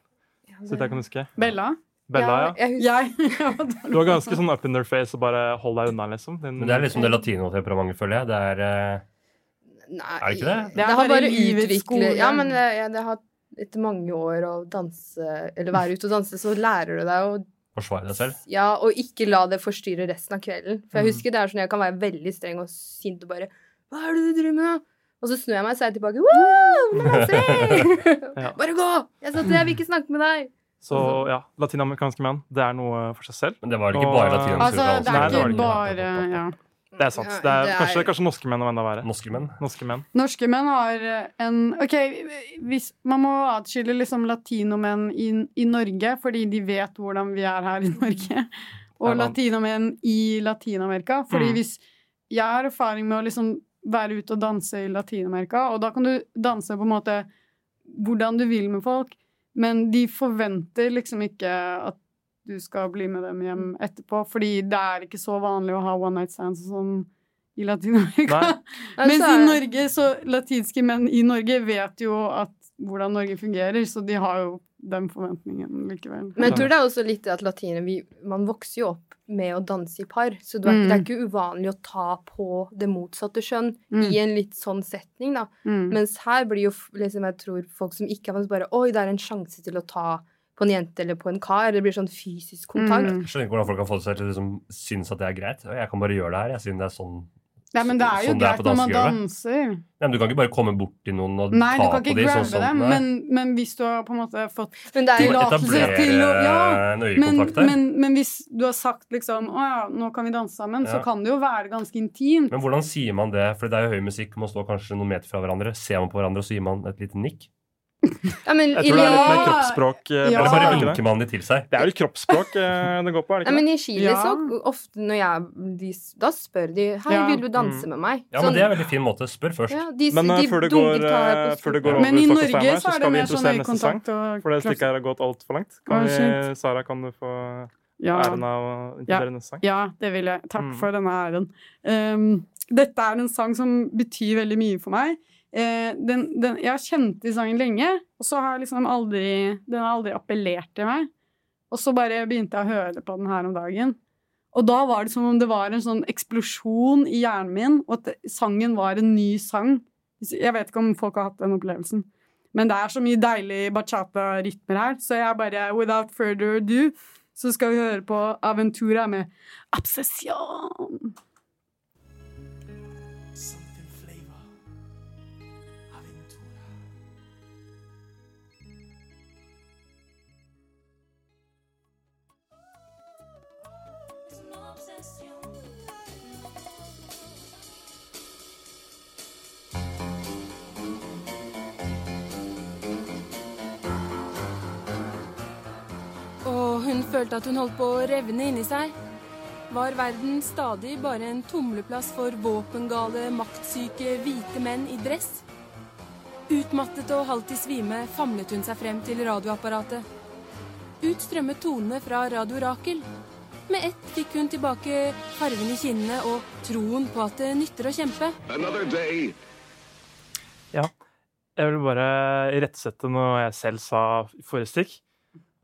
Speaker 2: Så vidt jeg kan huske.
Speaker 4: Bella?
Speaker 2: Bella, ja.
Speaker 5: Jeg husker,
Speaker 4: Jeg? ja, da-
Speaker 2: Du var ganske sånn up in their face og bare hold deg unna, liksom. Din-
Speaker 3: Men det er liksom det latinotemperamentet, føler jeg. Det er eh,
Speaker 5: nei,
Speaker 3: Er det ikke det?
Speaker 5: Det har bare,
Speaker 4: livets skole.
Speaker 5: utviklet Ja, men det, ja, det har etter mange år å danse, eller være ute og danse, så lærer du deg å
Speaker 3: forsvare deg selv.
Speaker 5: Ja, og ikke la det forstyrre resten av kvelden. For jeg
Speaker 2: Mhm.
Speaker 5: husker det er sånn jeg kan være veldig streng og sint og bare Hva er det du driver med? nå?» Og så snur jeg meg og sier jeg tilbake Wow, nå danser jeg!
Speaker 2: Ja.
Speaker 5: Bare gå! Jeg sa til deg, jeg vil ikke snakke med deg!
Speaker 2: Så ja, latinamerikanske menn, det er noe for seg selv.
Speaker 3: Men det var vel ikke
Speaker 2: Og-
Speaker 3: bare latinamerikanske
Speaker 4: Altså,
Speaker 2: Nei, det
Speaker 4: det er
Speaker 2: var
Speaker 4: ikke
Speaker 2: det ikke.
Speaker 4: bare ja.
Speaker 2: Det er sant. Det er, kanskje, kanskje norske menn er enda verre.
Speaker 3: Norske menn.
Speaker 2: Norske menn.
Speaker 4: Norske menn har eh, en Ok, hvis, man må atskille liksom latinomenn i, i Norge, fordi de vet hvordan vi er her i Norge, og
Speaker 2: Det er sant.
Speaker 4: latinomenn i Latin-Amerika. Fordi
Speaker 2: Mm.
Speaker 4: hvis Jeg har erfaring med å liksom være ute og danse i Latin-Amerika, og da kan du danse på en måte hvordan du vil med folk, men de forventer liksom ikke at du skal bli med dem hjem
Speaker 2: Mm.
Speaker 4: etterpå, fordi det er ikke så vanlig å ha one night stands og sånn i Latin-Amerika.
Speaker 2: Nei.
Speaker 5: Nei,
Speaker 4: Mens
Speaker 5: så
Speaker 4: i
Speaker 5: er-
Speaker 4: Norge, så latinske menn i Norge vet jo at hvordan Norge fungerer, så de har jo den forventningen likevel.
Speaker 5: Men jeg tror det er også litt det at latinere vi, Man vokser jo opp med å danse i par, så du er,
Speaker 4: Mm.
Speaker 5: det er ikke uvanlig å ta på det motsatte kjønn
Speaker 4: Mm.
Speaker 5: i en litt sånn setning, da.
Speaker 4: Mm.
Speaker 5: Mens her blir jo f- liksom, jeg tror folk som ikke har fått bare Oi, det er en sjanse til å ta på en jente eller på en kar. Det blir sånn fysisk kontakt.
Speaker 4: Mm.
Speaker 3: Jeg skjønner ikke hvordan folk kan få seg til å liksom, synes at det er greit. Jeg kan bare gjøre det her, jeg, siden det er sånn.
Speaker 4: Nei, men det er jo
Speaker 3: Sånn det er
Speaker 4: greit
Speaker 3: på
Speaker 4: når man
Speaker 3: dansegulvet.
Speaker 4: danser.
Speaker 3: Nei, men du kan ikke bare komme bort til noen og
Speaker 4: Nei, du
Speaker 3: ta
Speaker 4: kan
Speaker 3: på
Speaker 4: ikke
Speaker 3: dem.
Speaker 4: grabbe
Speaker 3: sånn,
Speaker 4: dem,
Speaker 3: nei.
Speaker 4: men, men hvis du har på en måte fått
Speaker 5: Men det
Speaker 3: Du må
Speaker 5: er jo
Speaker 4: Tillatelse
Speaker 3: etablere
Speaker 4: til å- ja,
Speaker 3: en
Speaker 4: men,
Speaker 3: øyekontakt der. Men,
Speaker 4: men, men hvis du har sagt liksom 'Å ja, nå kan vi danse sammen', så
Speaker 3: Ja.
Speaker 4: kan det jo være ganske intimt.
Speaker 3: hvordan sier man det? For det er jo høy musikk, man står kanskje noen meter fra hverandre. Ser man på hverandre, og så gir man et lite nikk?
Speaker 5: ja, men,
Speaker 2: Jeg
Speaker 5: i,
Speaker 2: tror det er litt mer
Speaker 4: Ja.
Speaker 2: kroppsspråk. eh,
Speaker 4: Ja.
Speaker 3: Eller
Speaker 2: er
Speaker 3: bare
Speaker 2: det ikke det?
Speaker 3: vinker man de til seg?
Speaker 2: Det er jo kroppsspråk eh, det går på, er det ikke
Speaker 5: ja,
Speaker 2: det?
Speaker 5: men i Chile
Speaker 4: Ja.
Speaker 5: så ofte når jeg de, Da spør de 'Hei,
Speaker 4: Ja.
Speaker 5: vil du danse
Speaker 2: Mm.
Speaker 5: med meg?' Sånn.
Speaker 3: Ja,
Speaker 4: Sånn-
Speaker 3: men det er en veldig fin måte. Spør først.
Speaker 5: ja, de,
Speaker 2: Men, eh,
Speaker 5: de
Speaker 2: før det
Speaker 5: dunker
Speaker 2: går, eh,
Speaker 5: tar jeg
Speaker 2: før
Speaker 5: på
Speaker 2: det
Speaker 5: skulderen.
Speaker 2: går over
Speaker 4: Men i
Speaker 2: i Stockholm
Speaker 4: Norge
Speaker 2: her, så
Speaker 4: så er
Speaker 2: skal
Speaker 4: det
Speaker 2: vi
Speaker 4: mer sånn
Speaker 2: introdusere neste sang.
Speaker 4: øyekontakt og
Speaker 2: For det
Speaker 4: kropps-
Speaker 2: stikket her har gått altfor langt.
Speaker 4: Å,
Speaker 2: Kan vi,
Speaker 4: shit.
Speaker 2: Sara, kan du få
Speaker 4: Ja.
Speaker 2: æren av å inkludere neste sang?
Speaker 4: Ja, det vil jeg. Takk
Speaker 2: Mm.
Speaker 4: for denne æren. Um, dette er en sang som betyr veldig mye for meg. Eh, den, den, jeg har kjent til sangen lenge, og så har jeg liksom aldri Den har aldri appellert til meg. Og så bare begynte jeg å høre på den her om dagen. Og da var det som om det var en sånn eksplosjon i hjernen min, og at det- sangen var en ny sang. Jeg vet ikke om folk har hatt den opplevelsen. Men det er så mye deilig bachata-rytmer her, så jeg bare Without further ado så skal vi høre på Aventura med Obsession.
Speaker 7: Something flavor. Aventura.
Speaker 6: Es una obsesión.
Speaker 8: Og hun følte at hun holdt på å revne inni seg. Var verden stadig bare en tumleplass for våpengale, maktsyke, hvite menn i dress? Utmattet og halvt i svime famlet hun seg frem til radioapparatet. Ut strømmet tonene fra Radio Rakel. Med ett fikk hun tilbake farven i kinnene og troen på at det nytter å kjempe.
Speaker 9: Another day.
Speaker 2: Jeg vil bare rettsette noe jeg selv sa i forrige stikk.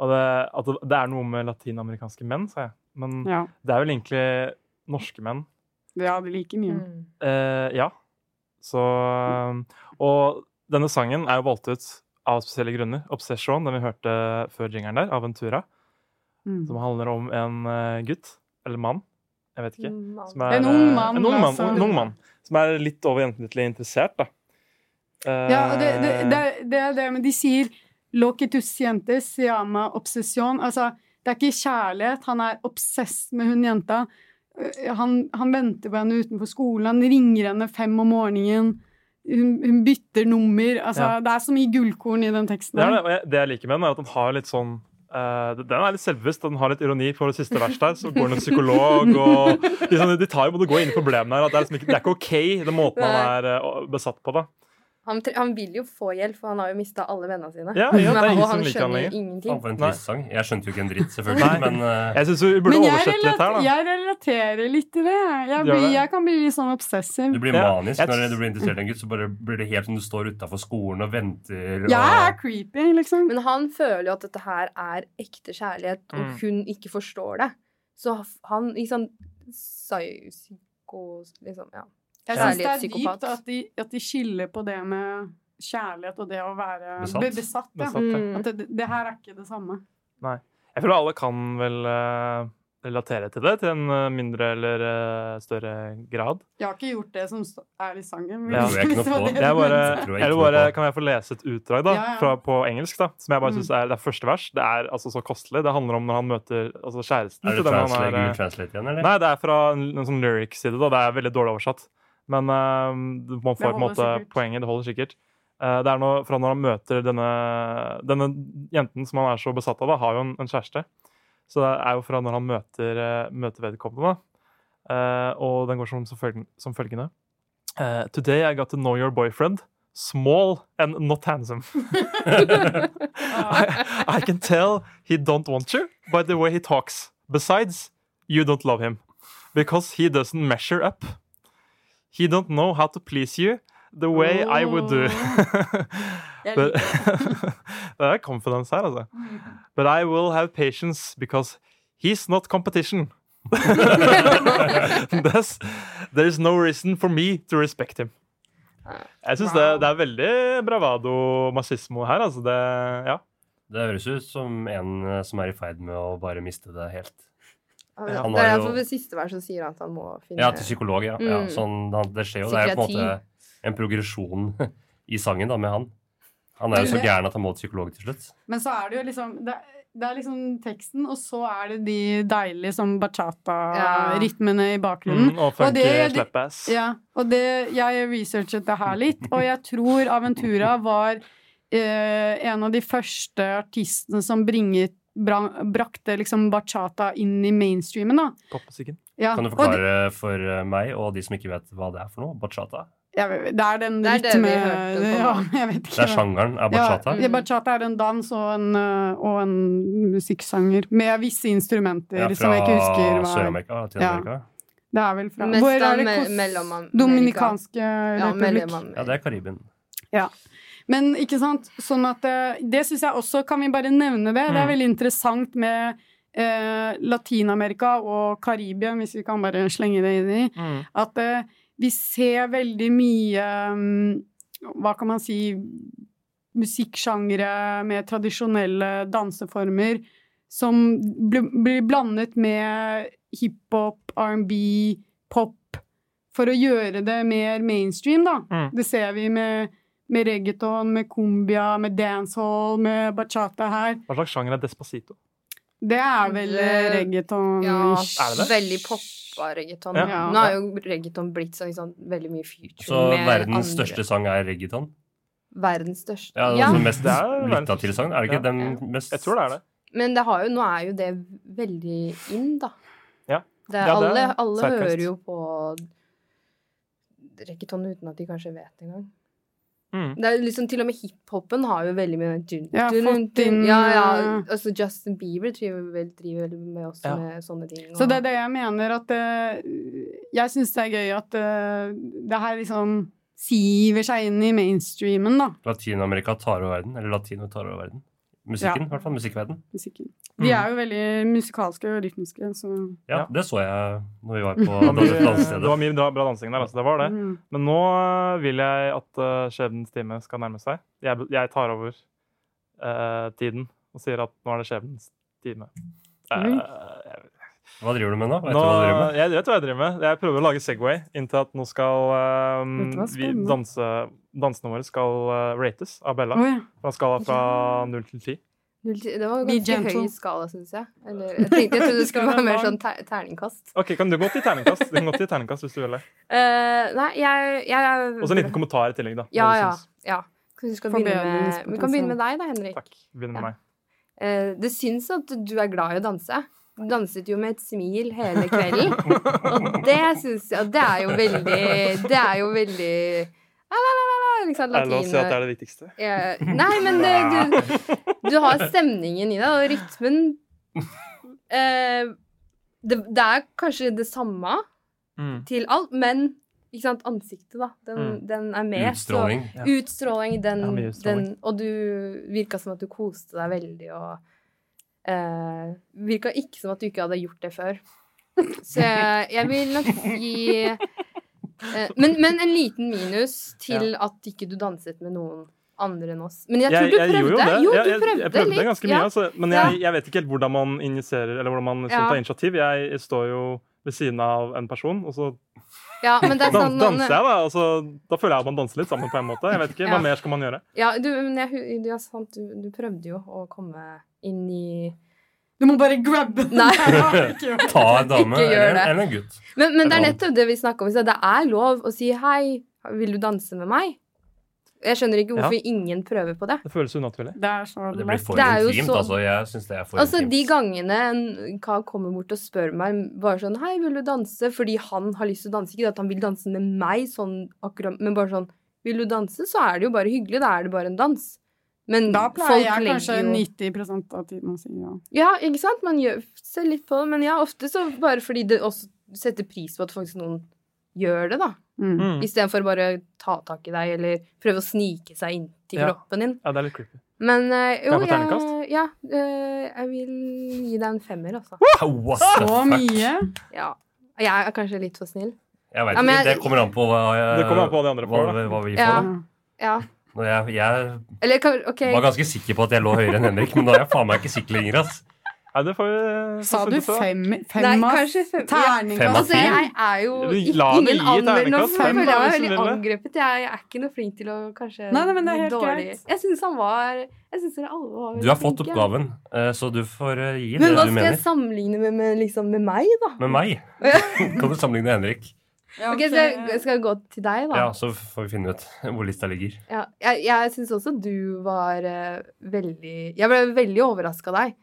Speaker 2: Og det, at det- det er noe med latinamerikanske menn, sa jeg. Men
Speaker 4: Ja,
Speaker 2: det er vel egentlig norske menn.
Speaker 4: vi hadde like mye.
Speaker 5: Mm.
Speaker 2: Eh, ja. Så Og denne sangen er jo valgt ut av spesielle grunner. 'Obsession', den vi hørte før jingeren der, av Ventura,
Speaker 4: Mm.
Speaker 2: som handler om en eh, gutt, eller mann, jeg vet ikke,
Speaker 5: Mm,
Speaker 2: som er,
Speaker 4: En ung mann,
Speaker 2: eh, En ung mann,
Speaker 4: altså.
Speaker 2: en ung mann som er litt over gjennomsnittlig interessert, da. Eh,
Speaker 4: Ja, og det, det, det, det er det, men de sier Lo que tus sientes, se llama obsession. Altså, det er ikke kjærlighet. Han er obsess med hun jenta. Eh, Han, han venter på henne utenfor skolen. Han ringer henne fem om morgenen. Hun, hun bytter nummer. Altså,
Speaker 2: Ja.
Speaker 4: Det er så mye gullkorn i den teksten.
Speaker 2: Det, er
Speaker 4: her.
Speaker 2: det, og jeg, det jeg liker med den, er at den har litt sånn eh, den er litt selvbevisst, og den har litt ironi på det siste verset. der, Så går den en psykolog og liksom, De tar jo både gå inn i problemene her. At det, er liksom ikke, det er ikke OK, den måten han er eh, besatt på. da
Speaker 5: Han, tre- han vil jo få hjelp, for han har jo mista alle vennene sine.
Speaker 2: Ja, ja, det er
Speaker 5: Men-
Speaker 2: ingen
Speaker 5: og
Speaker 2: som
Speaker 5: han
Speaker 2: liker han
Speaker 5: skjønner
Speaker 2: lenger.
Speaker 5: ingenting.
Speaker 3: Faen, for en
Speaker 2: Nei.
Speaker 3: trist sang. Jeg skjønte jo ikke en dritt, selvfølgelig,
Speaker 2: Nei.
Speaker 3: men eh,
Speaker 2: Jeg syns vi burde
Speaker 4: Men jeg,
Speaker 2: oversette litt her,
Speaker 4: relat-
Speaker 2: da.
Speaker 4: jeg relaterer litt til det. Jeg,
Speaker 2: Gjør
Speaker 4: blir,
Speaker 2: det.
Speaker 4: jeg kan bli litt sånn obsessiv.
Speaker 3: du blir
Speaker 2: Ja,
Speaker 3: manisk
Speaker 2: jeg-
Speaker 3: når du blir interessert i en gutt. Så bare blir det helt som du står utafor skolen og venter.
Speaker 4: Jeg er
Speaker 3: Og,
Speaker 4: creepy, liksom.
Speaker 5: Men han føler jo at dette her er ekte kjærlighet, og
Speaker 2: Mm.
Speaker 5: hun ikke forstår det. Så han liksom psy- Psyko... Liksom, ja.
Speaker 4: Jeg syns det er
Speaker 5: Kjærlighetspsykopat.
Speaker 4: dypt at de, at de skiller på det med kjærlighet og det å være
Speaker 3: Besatt.
Speaker 4: be- besatt ja.
Speaker 2: Besatt, ja.
Speaker 5: Mm.
Speaker 4: At det, det her er ikke det samme.
Speaker 2: Jeg føler alle kan vel eh, relatere til det, til en eh, mindre eller eh, større grad.
Speaker 4: Jeg har ikke gjort det som st- er i sangen.
Speaker 2: Ja.
Speaker 4: hvis-
Speaker 3: Det tror jeg ikke noe på.
Speaker 4: hvis var
Speaker 3: Jeg tror
Speaker 2: Jeg bare,
Speaker 4: det du mente.
Speaker 3: jeg
Speaker 2: eller
Speaker 3: ikke
Speaker 2: bare,
Speaker 3: noe på.
Speaker 2: kan jeg få lese et utdrag da,
Speaker 4: Ja, ja.
Speaker 2: fra, på engelsk, da, som jeg bare
Speaker 4: Mm.
Speaker 2: syns er det er første vers. Det er altså så kostelig. Det handler om når han møter altså, kjæresten.
Speaker 3: er det
Speaker 2: til den han
Speaker 3: translate,
Speaker 2: eh,
Speaker 3: Google translate igjen, eller?
Speaker 2: Nei, det er fra en, en sånn lyric-side. da, Det er veldig dårlig oversatt. Men eh, du- man får
Speaker 4: Det
Speaker 2: på en
Speaker 4: holder
Speaker 2: måte
Speaker 4: sikkert.
Speaker 2: poenget. Det holder sikkert. Eh, det er noe fra når han møter denne, denne jenten som han er så besatt av, da, har jo en, en kjæreste. Så det er jo fra når han møter, eh, møter vedkommende. da. Eh, og den går som, som, følgen, som følgende. Eh, Today I got to know your boyfriend. Small and not handsome. I, I can tell he don't want you by the way he talks. Besides, you don't love him because he doesn't measure up. He don't know how to please you the way I would do.
Speaker 4: Jeg
Speaker 2: But- det er confidence her, altså. But I will have patience because he's not competition. Thus, there's no reason for me to respect him. Jeg syns det, det er veldig bravado massismo her, altså. Det, ja.
Speaker 3: Det høres ut som en eh, som er i ferd med å bare miste det helt.
Speaker 5: Han,
Speaker 3: Ja, han
Speaker 5: det er
Speaker 3: har jo-
Speaker 5: derfor ved siste vers så sier han at han må finne
Speaker 3: Ja, til psykolog, ja. ja
Speaker 5: Mm.
Speaker 3: sånn, han- det skjer jo. Det er jo på en måte en progresjon i sangen da, med han. Han er jo så
Speaker 4: Men-
Speaker 3: gæren at han må til psykolog til slutt.
Speaker 4: Men så er det jo liksom det, det er liksom teksten, og så er det de deilige som
Speaker 5: Ja.
Speaker 4: bachata-rytmene i bakgrunnen.
Speaker 2: Mm, og
Speaker 4: Og
Speaker 2: funky
Speaker 4: det- det-
Speaker 2: slap-ass.
Speaker 4: Ja, og det, jeg researchet det her litt, og jeg tror Aventura var eh, en av de første artistene som bringet, bra, brakte liksom bachata inn i mainstreamen, da.
Speaker 2: Popmusikken.
Speaker 4: Ja,
Speaker 3: Kan du
Speaker 4: og det,
Speaker 3: forklare for eh, meg og de som ikke vet hva det er for noe? Bachata?
Speaker 4: jeg vet- det er den
Speaker 5: Det er det vi
Speaker 4: rytme...
Speaker 5: hørte på nå.
Speaker 4: ja, jeg vet ikke.
Speaker 3: Det er sjangeren av bachata?
Speaker 4: Ja, mm. ja, bachata er en dans og en, eh, og en musikksanger med visse instrumenter
Speaker 3: Ja,
Speaker 4: som
Speaker 3: fra
Speaker 4: jeg ikke husker hva er.
Speaker 3: Sør-Amerika til
Speaker 4: Ja.
Speaker 3: Amerika?
Speaker 4: Det er vel fra
Speaker 5: Mest
Speaker 4: Hvor er
Speaker 5: av
Speaker 4: det
Speaker 5: me
Speaker 4: Kos-
Speaker 5: Mellom-Amerika.
Speaker 4: Dominikanske
Speaker 5: ja,
Speaker 4: republikk.
Speaker 5: mellom-
Speaker 3: Ja, det er Karibien.
Speaker 4: Men ikke sant? Sånn at eh, Det syns jeg også Kan vi bare nevne det? Det er
Speaker 2: Mm.
Speaker 4: veldig interessant med eh, Latin-Amerika og Karibia, hvis vi kan bare slenge det inn i,
Speaker 2: Mm.
Speaker 4: at eh, vi ser veldig mye mm, Hva kan man si Musikksjangre med tradisjonelle danseformer som bl- blir blandet med hiphop, R&B, pop, for å gjøre det mer mainstream, da.
Speaker 2: Mm.
Speaker 4: Det ser vi med, med reggaeton, med cumbia, med dancehall, med bachata her.
Speaker 2: Hva slags sjanger er Despacito?
Speaker 4: Det er vel eh,
Speaker 5: Det-
Speaker 4: reggaeton
Speaker 5: Ja,
Speaker 2: Er det det?
Speaker 5: veldig poppa reggaeton.
Speaker 2: Ja.
Speaker 4: Ja.
Speaker 5: Nå har jo reggaeton blitt sånn, liksom, veldig mye future
Speaker 3: Så
Speaker 5: med
Speaker 3: verdens
Speaker 5: andre-
Speaker 3: største sang er reggaeton?
Speaker 5: Verdens største.
Speaker 3: Ja,
Speaker 5: Ja,
Speaker 3: det er altså den mest
Speaker 2: Det er verdens
Speaker 3: lytta til sang. Er det ikke
Speaker 2: Ja.
Speaker 3: den mest
Speaker 2: Jeg tror det er det.
Speaker 5: Men det har jo, nå er jo det veldig in, da.
Speaker 2: Ja.
Speaker 5: Det,
Speaker 2: Ja, det er
Speaker 5: alle alle
Speaker 2: zeitgeist.
Speaker 5: hører jo på reggaeton uten at de kanskje vet engang.
Speaker 2: Mm.
Speaker 5: Det er liksom, til og med hiphopen har jo veldig mye dun,
Speaker 4: Ja,
Speaker 5: dun, dun,
Speaker 4: fått inn,
Speaker 5: dun. ja, ja.
Speaker 4: eh,
Speaker 5: Altså Justin Bieber driver vel, driver vel med også
Speaker 2: Ja.
Speaker 5: med sånne ting.
Speaker 4: Så det er det jeg mener at eh, Jeg syns det er gøy at eh, det her liksom siver seg inn i mainstreamen, da,
Speaker 3: Latin-Amerika tar over verden? Eller latino tar over verden? Musikken, i hvert fall. Musikkverden.
Speaker 4: musikken. De
Speaker 2: Mm.
Speaker 4: er jo veldig musikalske og rytmiske, så
Speaker 3: Ja,
Speaker 2: Ja.
Speaker 3: det så jeg når vi var
Speaker 2: Det var
Speaker 3: på
Speaker 2: mye- det
Speaker 3: dansestedet.
Speaker 2: var mye bra, bra dansing der, altså. Det var det.
Speaker 4: mm.
Speaker 2: Men nå øh, vil jeg at øh, skjebnens time skal nærme seg. Jeg, jeg tar over øh, tiden og sier at nå er det skjebnens time. Eh,
Speaker 4: Oi.
Speaker 2: jeg-
Speaker 3: Hva driver du med nå? Vet du
Speaker 2: nå,
Speaker 3: hva du driver med?
Speaker 2: jeg vet hva jeg driver med. Jeg prøver å lage Segway inn til at nå skal øhm,
Speaker 4: Dette var
Speaker 2: vi
Speaker 4: spennende.
Speaker 2: danse, Dansene våre skal øh, rates av Bella.
Speaker 4: Å, ja.
Speaker 2: Fra skala fra 0 til 10.
Speaker 5: Null til- Det var jo
Speaker 4: Be
Speaker 5: ganske
Speaker 4: gentle.
Speaker 5: høy skala, syns jeg. Eller, jeg, tenkte, jeg trodde det skulle
Speaker 4: Skal
Speaker 5: være
Speaker 4: være
Speaker 5: mer
Speaker 4: lang.
Speaker 5: sånn ter terningkast.
Speaker 2: OK, kan du gå til terningkast? Du kan gå til terningkast hvis du vil det.
Speaker 5: Eh, nei, jeg, jeg
Speaker 2: Og så en liten kommentar i tillegg, da. hva
Speaker 5: Ja,
Speaker 2: du
Speaker 5: ja.
Speaker 2: syns.
Speaker 5: ja. Kanskje vi, skal begynne med, vi kan begynne med deg, da, Henrik.
Speaker 2: Takk. Begynn med
Speaker 5: Ja.
Speaker 2: meg.
Speaker 5: Eh, det syns at du er glad i å danse. Du danset jo med et smil hele kvelden. Og det syns jeg Det er jo veldig Det er jo veldig la, la, la, la, liksom
Speaker 2: Er det lov å si at det
Speaker 5: latin
Speaker 2: er det viktigste?
Speaker 5: Eh, Nei, men det, du, du har stemningen i deg, og rytmen eh, det, det er kanskje det samme
Speaker 2: Mm.
Speaker 5: til alt, men ikke sant, ansiktet, da. Den, den er med. så-
Speaker 3: Utstråling.
Speaker 2: Ja.
Speaker 5: Utstråling, den,
Speaker 2: Ja, mye utstråling.
Speaker 5: den Og du virka som at du koste deg veldig, og eh, Virka ikke som at du ikke hadde gjort det før. Så jeg, jeg vil nok gi eh, men, men en liten minus til at ikke du danset med noen andre enn oss. Men jeg tror du prøvde.
Speaker 2: gjorde jo det.
Speaker 5: Jo,
Speaker 2: Jeg-
Speaker 5: du
Speaker 2: jeg,
Speaker 5: prøvde,
Speaker 2: jeg prøvde
Speaker 5: litt.
Speaker 2: ganske mye,
Speaker 5: Ja.
Speaker 2: altså, men jeg, jeg vet ikke helt hvordan man injiserer, eller hvordan man liksom,
Speaker 5: Ja.
Speaker 2: tar initiativ. Jeg, jeg står jo ved siden av en person, og så altså.
Speaker 5: Ja, men det er
Speaker 2: dan
Speaker 5: sånn
Speaker 2: danser jeg, da. Og så, da føler jeg at man danser litt sammen på en måte. Jeg vet ikke,
Speaker 5: Ja.
Speaker 2: Hva mer skal man gjøre?
Speaker 5: Ja, du, men jeg, hu- ja, sant, du, du prøvde jo å komme inn i
Speaker 4: Du må bare grabbe den.
Speaker 5: Nei.
Speaker 4: der, ikke gjør det.
Speaker 3: Ta en dame
Speaker 5: Ikke gjør
Speaker 3: eller,
Speaker 5: det.
Speaker 3: eller en gutt.
Speaker 5: Men, men det er
Speaker 3: Eller
Speaker 5: nettopp det vi snakker om. i sted. Det er lov å si 'hei, vil du danse med meg'? Jeg skjønner ikke hvorfor ingen prøver på det.
Speaker 2: Det føles unaturlig.
Speaker 4: Det er så
Speaker 3: Det blir for
Speaker 5: Det er jo
Speaker 3: intimt,
Speaker 5: så-
Speaker 3: altså. Jeg syns det er for
Speaker 5: Altså, De
Speaker 3: intimt.
Speaker 5: gangene en kar kommer bort og spør meg bare sånn 'Hei, vil du danse?' fordi han har lyst til å danse. Ikke det at han vil danse med meg, sånn akkurat, men bare sånn 'Vil du danse?' så er det jo bare hyggelig. Da er det bare en dans. Men
Speaker 4: Da pleier jeg
Speaker 5: legger
Speaker 4: kanskje
Speaker 5: jo-
Speaker 4: 90 av tiden å si ja.
Speaker 5: Ja, ikke sant? Man gjør, ser litt på det. Men ja, ofte så bare fordi det også setter pris på at faktisk noen gjør det, da.
Speaker 4: Mm.
Speaker 2: Mm.
Speaker 5: Istedenfor bare ta tak i deg eller prøve å snike seg inn til
Speaker 2: Ja.
Speaker 5: kroppen din.
Speaker 2: Ja, det er litt creepy.
Speaker 5: Men eh,
Speaker 2: Kan
Speaker 5: jo,
Speaker 2: jeg få
Speaker 5: jeg,
Speaker 2: terningkast?
Speaker 5: ja, eh, jeg vil gi deg en femmer, altså.
Speaker 3: What the
Speaker 4: Så
Speaker 3: fuck?
Speaker 4: mye.
Speaker 5: Ja. Jeg er kanskje litt for snill.
Speaker 3: Jeg vet
Speaker 5: Ja, men
Speaker 3: ikke.
Speaker 5: jeg-
Speaker 3: Det kommer an på hva, jeg,
Speaker 2: Det kommer an på hva de andre får,
Speaker 3: hva,
Speaker 2: da.
Speaker 3: hva vi
Speaker 5: Ja.
Speaker 3: får. da.
Speaker 5: Ja.
Speaker 3: Når jeg, jeg
Speaker 5: Eller kan- OK.
Speaker 3: var ganske sikker på at jeg lå høyere enn Henrik, men nå er jeg faen meg ikke sikker lenger. ass.
Speaker 2: Nei, det får vi får
Speaker 4: Sa du
Speaker 2: finne ut av.
Speaker 4: fem, fem
Speaker 5: Nei,
Speaker 4: av
Speaker 5: kanskje fem-
Speaker 3: Fem av
Speaker 4: terningkast?
Speaker 5: Altså, jeg er jo
Speaker 2: Du,
Speaker 5: ikke-
Speaker 2: la meg
Speaker 5: ingen
Speaker 2: gi
Speaker 5: anmelder nå,
Speaker 2: terningkast
Speaker 5: for jeg
Speaker 2: fem,
Speaker 5: føler
Speaker 2: da,
Speaker 5: jeg
Speaker 2: hvis
Speaker 5: var
Speaker 2: du
Speaker 5: veldig
Speaker 2: vil
Speaker 5: angrepet. Jeg er ikke noe flink til å kanskje
Speaker 4: Nei, nei, men det er helt
Speaker 5: dårlig.
Speaker 4: greit.
Speaker 5: Jeg syns han var Jeg syns dere alle var
Speaker 3: Du har fått
Speaker 5: flinke.
Speaker 3: oppgaven, eh, så du får eh, gi det
Speaker 5: Men hva
Speaker 3: du
Speaker 5: skal jeg
Speaker 3: mener.
Speaker 5: sammenligne med, med, liksom, med meg, da?
Speaker 3: Med meg
Speaker 5: Ja.
Speaker 3: kan du sammenligne Henrik.
Speaker 4: Ja,
Speaker 5: Ok, så jeg skal jeg gå til deg, da?
Speaker 3: Ja, Så får vi finne ut hvor lista ligger.
Speaker 5: Ja, jeg jeg syns også du var eh, veldig Jeg ble veldig overraska av deg.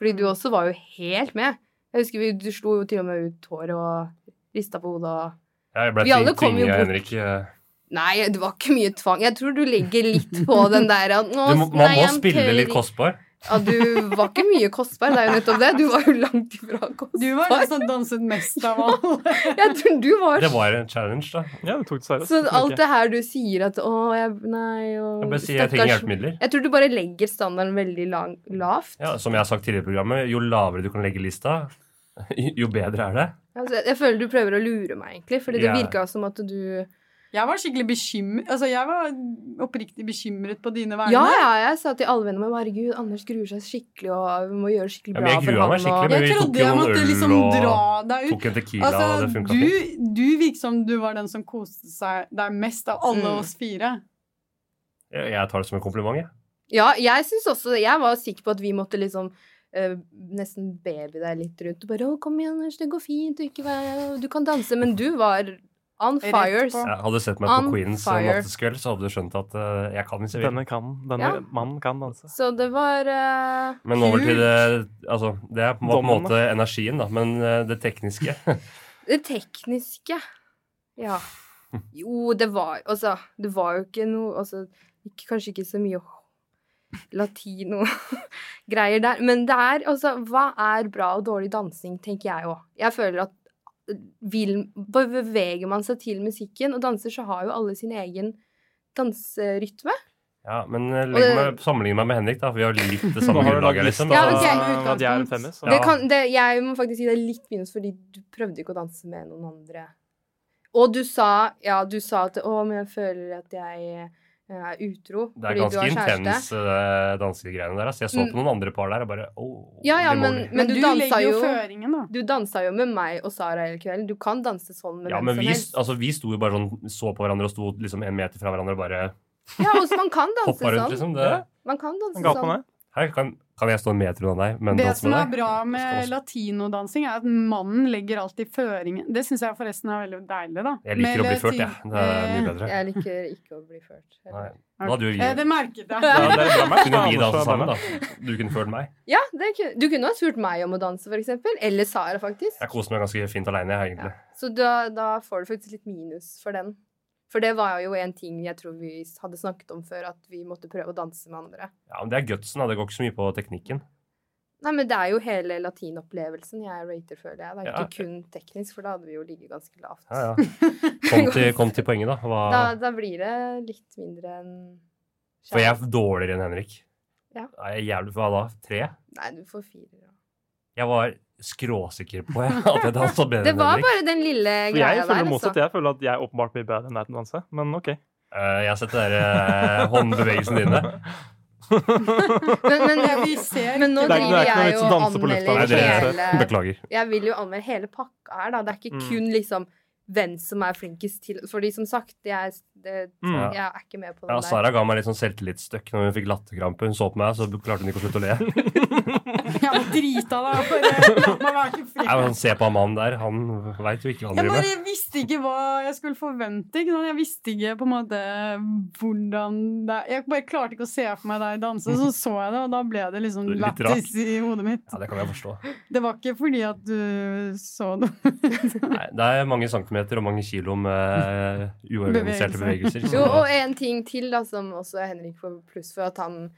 Speaker 5: Fordi
Speaker 4: Mm.
Speaker 5: du også var jo helt med. Jeg husker vi, Du slo jo til og med ut håret og rista på hodet og
Speaker 3: Ja, jeg ble
Speaker 5: Vi alle
Speaker 3: tving-
Speaker 5: kom jo
Speaker 3: tvinget,
Speaker 5: bort.
Speaker 3: Henrik. eh.
Speaker 5: Nei, det var ikke mye tvang. Jeg tror du legger litt på den der at nå,
Speaker 3: Du, må- man
Speaker 5: nei,
Speaker 3: må
Speaker 5: jeg
Speaker 3: spille
Speaker 5: tør
Speaker 3: litt
Speaker 5: ikke.
Speaker 3: kostbar.
Speaker 5: Ja, du var ikke mye kostbar. Det er jo nettopp det. Du var jo langt ifra
Speaker 4: Du var
Speaker 5: kostbar.
Speaker 4: den som danset mest av alle.
Speaker 5: Jeg tror du var
Speaker 3: Det var en challenge, da.
Speaker 2: Ja, du tok det seriøst.
Speaker 5: Så
Speaker 2: Det funker.
Speaker 5: alt det her du sier at å, jeg, nei og,
Speaker 3: Jeg bare sier jeg trenger hjelpemidler.
Speaker 5: Jeg tror du bare legger standarden veldig lang, lavt.
Speaker 3: Ja, som jeg har sagt tidligere i programmet, jo lavere du kan legge lista, jo bedre er det.
Speaker 5: Altså, jeg- jeg føler du prøver å lure meg, egentlig. Fordi det
Speaker 3: Ja.
Speaker 5: virka som at du
Speaker 4: Jeg var skikkelig bekymret Altså, jeg var oppriktig bekymret på dine
Speaker 5: Ja,
Speaker 4: vegne.
Speaker 5: ja, jeg sa til alle vennene mine herregud, Anders gruer seg skikkelig, og øh, vi må gjøre skikkelig
Speaker 3: Ja,
Speaker 5: bra
Speaker 3: men jeg
Speaker 5: for
Speaker 3: grua
Speaker 5: ham.
Speaker 3: meg skikkelig, men-
Speaker 5: og...
Speaker 4: Jeg
Speaker 3: vi tok
Speaker 4: trodde
Speaker 3: jo
Speaker 4: jeg
Speaker 3: noen
Speaker 4: måtte
Speaker 3: øl
Speaker 4: liksom
Speaker 3: og
Speaker 4: dra deg ut.
Speaker 3: Tok en tequila, og det
Speaker 4: Altså,
Speaker 3: funka ikke.
Speaker 4: du, du virket som du var den som koste seg deg mest av alle
Speaker 5: Mm.
Speaker 4: oss fire.
Speaker 3: Jeg jeg tar det som en kompliment, jeg.
Speaker 5: Ja, jeg syns også Jeg var sikker på at vi måtte liksom eh, nesten baby deg litt rundt. Og bare 'Å, kom igjen, Anders, det går fint, du, ikke vær, du kan danse'. Men du var on
Speaker 4: Rett
Speaker 5: fire.
Speaker 4: på.
Speaker 3: Ja, Hadde du sett meg
Speaker 5: On
Speaker 3: på Queens eh,
Speaker 5: fire.
Speaker 3: natteskveld, så hadde du skjønt at eh, jeg kan hvis jeg vil.
Speaker 2: Denne, kan, denne
Speaker 5: Ja.
Speaker 2: mannen kan danse.
Speaker 5: Så det var eh,
Speaker 3: Men over til det Altså, det er på en
Speaker 2: Dommen,
Speaker 3: måte energien, da, men eh, det tekniske
Speaker 5: det tekniske. Ja. Jo, det var Altså, det var jo ikke noe altså, ikke, Kanskje ikke så mye latino-greier der. Men det er altså Hva er bra og dårlig dansing, tenker jeg òg. Jeg føler at eh, vil, beveger man seg til musikken og danser, så har jo alle sin egen danserytme.
Speaker 3: Ja, men eh,
Speaker 5: Og det-
Speaker 3: legg meg, sammenlign meg med Henrik, da, for vi har litt det samme
Speaker 2: Nå har du lagd
Speaker 3: grunnlaget,
Speaker 2: lista
Speaker 3: liksom.
Speaker 5: Ja,
Speaker 2: av
Speaker 5: ok,
Speaker 2: at jeg er en femmer. Så.
Speaker 5: Det kan, det, jeg må faktisk gi deg litt minus, fordi du prøvde ikke å danse med noen andre. Og du sa ja, du sa at 'Å, men jeg føler at jeg eh, er utro
Speaker 3: Det er
Speaker 5: fordi du
Speaker 3: ganske
Speaker 5: har kjæreste'. Mm.
Speaker 3: intens uh, dansegreiene der. Altså. Jeg så på noen andre par der og bare oh,
Speaker 5: Ja, ja,
Speaker 3: det må
Speaker 5: men,
Speaker 3: bli.
Speaker 5: men du, dansa
Speaker 4: legger jo
Speaker 5: jo
Speaker 4: føringen, da.
Speaker 5: Du dansa jo med meg og Sara hele kvelden. Du kan danse sånn med
Speaker 3: ja,
Speaker 5: hvem
Speaker 3: men
Speaker 5: som
Speaker 3: vi,
Speaker 5: helst.
Speaker 3: altså, vi sto jo bare sånn, så på hverandre og sto liksom en meter fra hverandre og bare
Speaker 5: Ja, også, man kan danse
Speaker 3: hoppa rundt,
Speaker 5: sånn.
Speaker 3: liksom. Det,
Speaker 2: Ja.
Speaker 5: Man kan danse
Speaker 2: Han ga på
Speaker 5: sånn.
Speaker 2: meg.
Speaker 3: Her kan, kan jeg stå en meter unna deg, men
Speaker 4: Det
Speaker 3: danse
Speaker 4: som er
Speaker 3: med deg.
Speaker 4: bra
Speaker 3: Skal
Speaker 4: med
Speaker 3: også-
Speaker 4: latinodansing, er at mannen legger alltid føringen. Det syns jeg forresten er veldig deilig, da. Eh,
Speaker 3: Jeg liker å bli ført, jeg.
Speaker 4: jeg.
Speaker 3: Det er mye bedre.
Speaker 5: Jeg liker ikke å bli ført.
Speaker 3: Nei.
Speaker 5: heller.
Speaker 3: Da hadde jo vi
Speaker 4: Eh, Det merket
Speaker 2: Ja, det
Speaker 4: jeg.
Speaker 2: er bra match,
Speaker 3: Kunne vi
Speaker 2: Anders
Speaker 3: danse
Speaker 2: og
Speaker 3: sammen,
Speaker 2: Bella.
Speaker 3: da? Du kunne ført meg.
Speaker 5: Ja, det kunne, du kunne ha spurt meg om å danse, for eksempel. Eller Sara, faktisk.
Speaker 3: Jeg koser meg ganske fint aleine, jeg,
Speaker 5: Ja.
Speaker 3: egentlig.
Speaker 5: Så da, da får du faktisk litt minus for den. For det var jo en ting jeg tror vi hadde snakket om før, at vi måtte prøve å danse med andre.
Speaker 3: Ja, men Det er gutsen, da. Det går ikke så mye på teknikken.
Speaker 5: Nei, men det er jo hele latinopplevelsen jeg rater, føler jeg. Det er
Speaker 3: Ja.
Speaker 5: ikke kun teknisk, for da hadde vi jo ligget ganske lavt.
Speaker 3: Ja, ja. Kom til, kom til poenget, da. Hva,
Speaker 5: Da, da blir det litt mindre enn
Speaker 3: for jeg er dårligere enn Henrik.
Speaker 5: Ja.
Speaker 3: Er jeg jævlig Hva da? Tre?
Speaker 5: Nei, du får fire. da.
Speaker 3: Jeg var skråsikker på at jeg dansa bedre
Speaker 5: Det
Speaker 3: enn
Speaker 5: var
Speaker 3: Henrik.
Speaker 5: bare den lille
Speaker 2: For
Speaker 5: greia
Speaker 2: jeg
Speaker 5: der,
Speaker 2: føler motsatt.
Speaker 5: altså.
Speaker 2: Jeg føler at jeg er åpenbart blir bedre enn Nathan Danse, men OK.
Speaker 3: Eh, jeg har sett de der, eh, håndbevegelsene dine.
Speaker 5: Men,
Speaker 4: Ja,
Speaker 5: men,
Speaker 4: vi ser
Speaker 5: men nå
Speaker 2: Det er ikke- det er ikke
Speaker 5: driver
Speaker 2: noe
Speaker 5: jeg
Speaker 2: vits
Speaker 5: jo
Speaker 2: å
Speaker 5: og
Speaker 2: danse på lufta.
Speaker 3: Nei,
Speaker 5: anmelder
Speaker 3: det,
Speaker 5: hele
Speaker 3: beklager.
Speaker 5: jeg vil jo anmelde hele pakka her, da. Det er ikke
Speaker 2: Mm.
Speaker 5: kun liksom hvem som er flinkest til Fordi som sagt, jeg, det,
Speaker 2: Mm.
Speaker 5: jeg er ikke med på
Speaker 3: Ja,
Speaker 5: den der.
Speaker 3: Sara ga meg litt sånn selvtillitsstøkk når hun fikk latterkrampe. Hun så på meg, så klarte hun ikke å slutte å le.
Speaker 4: Jeg var drita da. Bare, la meg være til fred.
Speaker 3: Nei, men Se på han mannen der, han veit jo ikke hva han
Speaker 4: Jeg
Speaker 3: driver med.
Speaker 4: bare visste ikke hva jeg skulle forvente. Ikke sant? Jeg visste ikke på en måte hvordan det Jeg bare klarte ikke å se for meg deg danse, så så jeg det, og da ble det liksom
Speaker 3: Litt rart.
Speaker 4: lættis i hodet mitt.
Speaker 3: Ja, det kan jeg forstå.
Speaker 4: Det var ikke fordi at du så det.
Speaker 3: Nei, det er mange centimeter og mange kilo med eh, uorganiserte
Speaker 4: Bevegelser.
Speaker 3: bevegelser. så-
Speaker 5: Jo, og en ting til, da, som også Henrik får pluss for, at han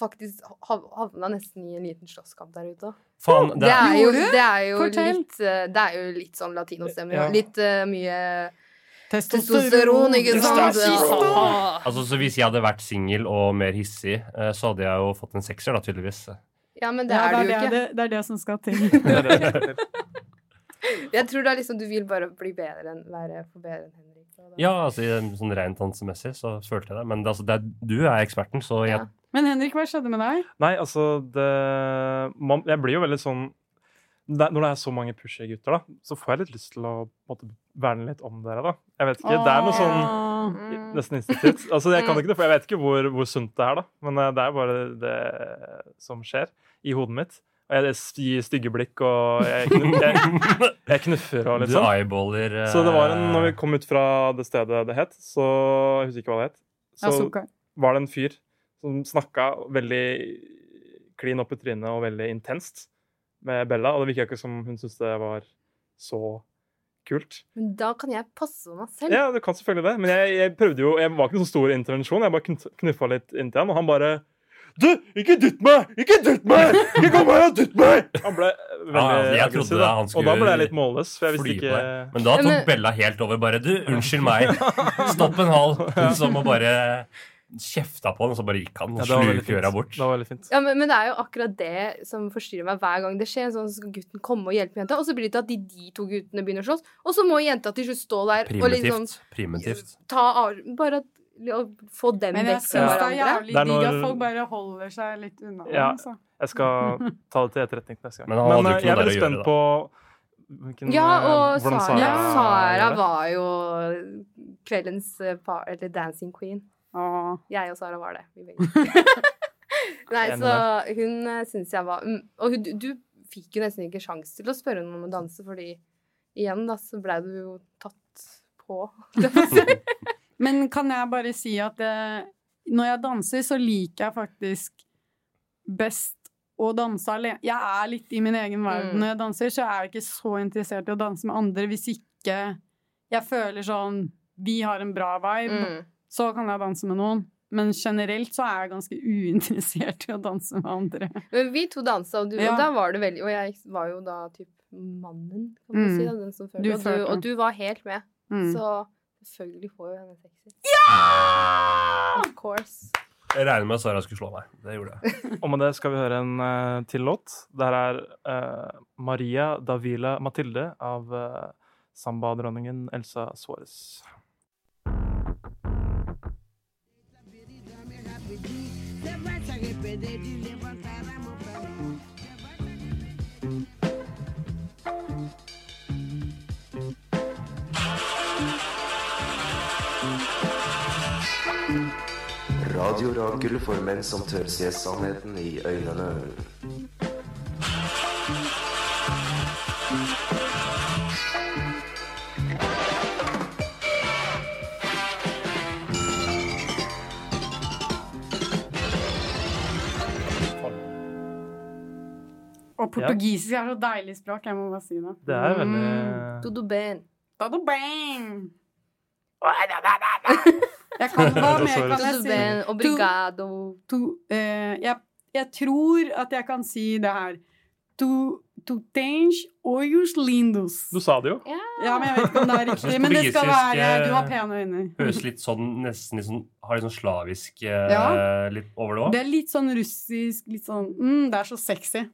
Speaker 5: faktisk hav- havna nesten i en liten slåsskamp der ute.
Speaker 3: Faen,
Speaker 5: Det er jo,
Speaker 4: Gjorde du?
Speaker 5: det er jo
Speaker 4: Fortell.
Speaker 5: litt eh, Det er jo litt sånn latinostemning.
Speaker 2: Ja.
Speaker 5: og Litt eh, mye
Speaker 4: Testosteron,
Speaker 5: testosteron, ikke sant? Åh.
Speaker 3: Altså, så Hvis jeg hadde vært singel og mer hissig, eh, så hadde jeg jo fått en sekser, da, tydeligvis.
Speaker 5: Ja, men det
Speaker 4: Ja,
Speaker 5: er
Speaker 4: det,
Speaker 5: du jo
Speaker 4: er
Speaker 5: ikke.
Speaker 4: det, det er det som skal til.
Speaker 2: Det er det jeg skal til.
Speaker 5: Jeg tror det er liksom du vil bare bli bedre enn være for bedre enn Henrik. og da-
Speaker 3: Ja, altså i- sånn rent dansemessig så følte jeg det. Men det, altså, det er, du er eksperten, så jeg
Speaker 5: Ja.
Speaker 4: Men Henrik, hva skjedde med deg?
Speaker 2: Nei, altså det, man, Jeg blir jo veldig sånn det, Når det er så mange pusher-gutter, da, så får jeg litt lyst til å på en måte, verne litt om dere, da. Jeg vet ikke. Det er noe sånn
Speaker 4: Åh.
Speaker 5: Mm.
Speaker 2: Nesten instinktivt. Altså, jeg kan ikke det, for jeg vet ikke hvor, hvor sunt det er, da. Men eh, det er bare det som skjer i hodet mitt. Og jeg gir stygge blikk, og jeg, knu- jeg, jeg knuffer og litt
Speaker 3: Du
Speaker 2: sånn.
Speaker 3: eyeballer eh,
Speaker 2: Så det var en, når vi kom ut fra det stedet det het, så jeg husker ikke hva det het, så
Speaker 4: Asuka.
Speaker 2: var det en fyr som snakka veldig klin opp i trynet og veldig intenst med Bella, og det virka ikke som hun syntes det var så kult.
Speaker 5: Men da kan jeg passe meg selv.
Speaker 2: Ja, du kan selvfølgelig det. Men jeg, jeg prøvde jo, jeg var ikke noen stor intervensjon. Jeg bare kn- knuffa litt inntil han, og han bare Du, ikke dytt meg! Ikke dytt meg! Ikke kom her og dytt meg! Han ble veldig
Speaker 3: Ja, jeg trodde
Speaker 2: aggressiv. Da.
Speaker 3: han skulle
Speaker 2: og da ble jeg litt målløs, for jeg
Speaker 3: fly på
Speaker 2: visste ikke
Speaker 3: deg. Men da tok
Speaker 5: Men-
Speaker 3: Bella helt over. Bare du, unnskyld meg. Stopp en hal. Som å bare kjefta på han, og så bare gikk han og
Speaker 2: Ja, det var veldig
Speaker 3: sluk øra
Speaker 2: fint.
Speaker 3: bort.
Speaker 2: Det var veldig fint.
Speaker 5: Ja, men, men det er jo akkurat det som forstyrrer meg hver gang det skjer. Sånn så skal gutten komme og hjelpe jenta, og så blir det til at de, de to guttene begynner å slåss. Og så må jenta til slutt stå der og liksom
Speaker 3: Primitivt. Primitivt.
Speaker 5: ta av Bare at, å få dem
Speaker 4: Men jeg
Speaker 5: vekk
Speaker 4: syns
Speaker 5: fra
Speaker 4: det er
Speaker 5: hverandre.
Speaker 4: jævlig
Speaker 2: Det er
Speaker 4: digg at
Speaker 2: når-
Speaker 4: folk bare holder seg litt unna.
Speaker 2: Ja.
Speaker 4: altså.
Speaker 2: Jeg skal ta det til etterretning neste gang.
Speaker 3: Men han hadde jo
Speaker 2: eh,
Speaker 3: ikke
Speaker 2: jeg er
Speaker 3: noe
Speaker 2: veldig
Speaker 3: der å gjøre,
Speaker 2: spent på hvilken,
Speaker 5: Ja,
Speaker 2: eh,
Speaker 5: og
Speaker 2: hvordan
Speaker 5: Sara,
Speaker 2: gjør
Speaker 5: Sara
Speaker 2: det.
Speaker 5: var jo kveldens eh, par, eller dancing queen.
Speaker 4: Åh.
Speaker 5: Jeg og Sara var det. Vi begge. Nei,
Speaker 2: Enig
Speaker 5: så hun syns jeg var mm, Og hun, du fikk jo nesten ikke sjanse til å spørre henne om å danse, fordi igjen, da, så blei du jo tatt på.
Speaker 4: Men kan jeg bare si at eh, når jeg danser, så liker jeg faktisk best å danse alene. Jeg er litt i min egen verden
Speaker 5: Mm.
Speaker 4: når jeg danser, så jeg er ikke så interessert i å danse med andre hvis ikke jeg føler sånn Vi har en bra vibe,
Speaker 5: Mm.
Speaker 4: så kan jeg danse med noen. Men generelt så er jeg ganske uinteressert i å danse med andre.
Speaker 5: Men vi to dansa, og, du,
Speaker 4: Ja.
Speaker 5: og da var det veldig Og jeg var jo da typ mannen, kan du
Speaker 4: Mm.
Speaker 5: si. Da, den som følte,
Speaker 4: Du
Speaker 5: og,
Speaker 4: følte.
Speaker 5: du, og du var helt med.
Speaker 4: Mm.
Speaker 5: Så selvfølgelig får jo henne sexy. Of course.
Speaker 3: Jeg regner med at Sara skulle slå meg. Det gjorde jeg.
Speaker 2: Og med det skal vi høre en eh, til låt. Der er eh, Maria Davila Matilde av eh, sambadronningen Elsa Suárez.
Speaker 7: Radio Rakel for menn som tør se sannheten i øynene.
Speaker 4: Og portugisisk er så deilig
Speaker 5: Mm.
Speaker 4: Mm. språk, jeg må bare si det.
Speaker 2: Det er veldig
Speaker 5: Dodo Ben.
Speaker 4: Bada bang! Jeg kan hva mer
Speaker 2: Sorry.
Speaker 4: kan jeg si?
Speaker 5: Ben, obrigado.
Speaker 4: tu, eh, jeg, jeg tror at jeg kan si det her. Tu, tu tens olhos lindos.
Speaker 2: Du sa det jo.
Speaker 4: Ja, men jeg vet ikke om det er riktig.
Speaker 3: Jeg synes
Speaker 4: Men det skal
Speaker 3: portugisisk,
Speaker 4: være
Speaker 3: eh,
Speaker 4: Du har pene øyne.
Speaker 3: Høres litt sånn nesten litt sånn, har litt sånn slavisk eh,
Speaker 4: Ja.
Speaker 3: litt over det òg.
Speaker 4: Det er litt sånn russisk, litt sånn mm, Det er så sexy.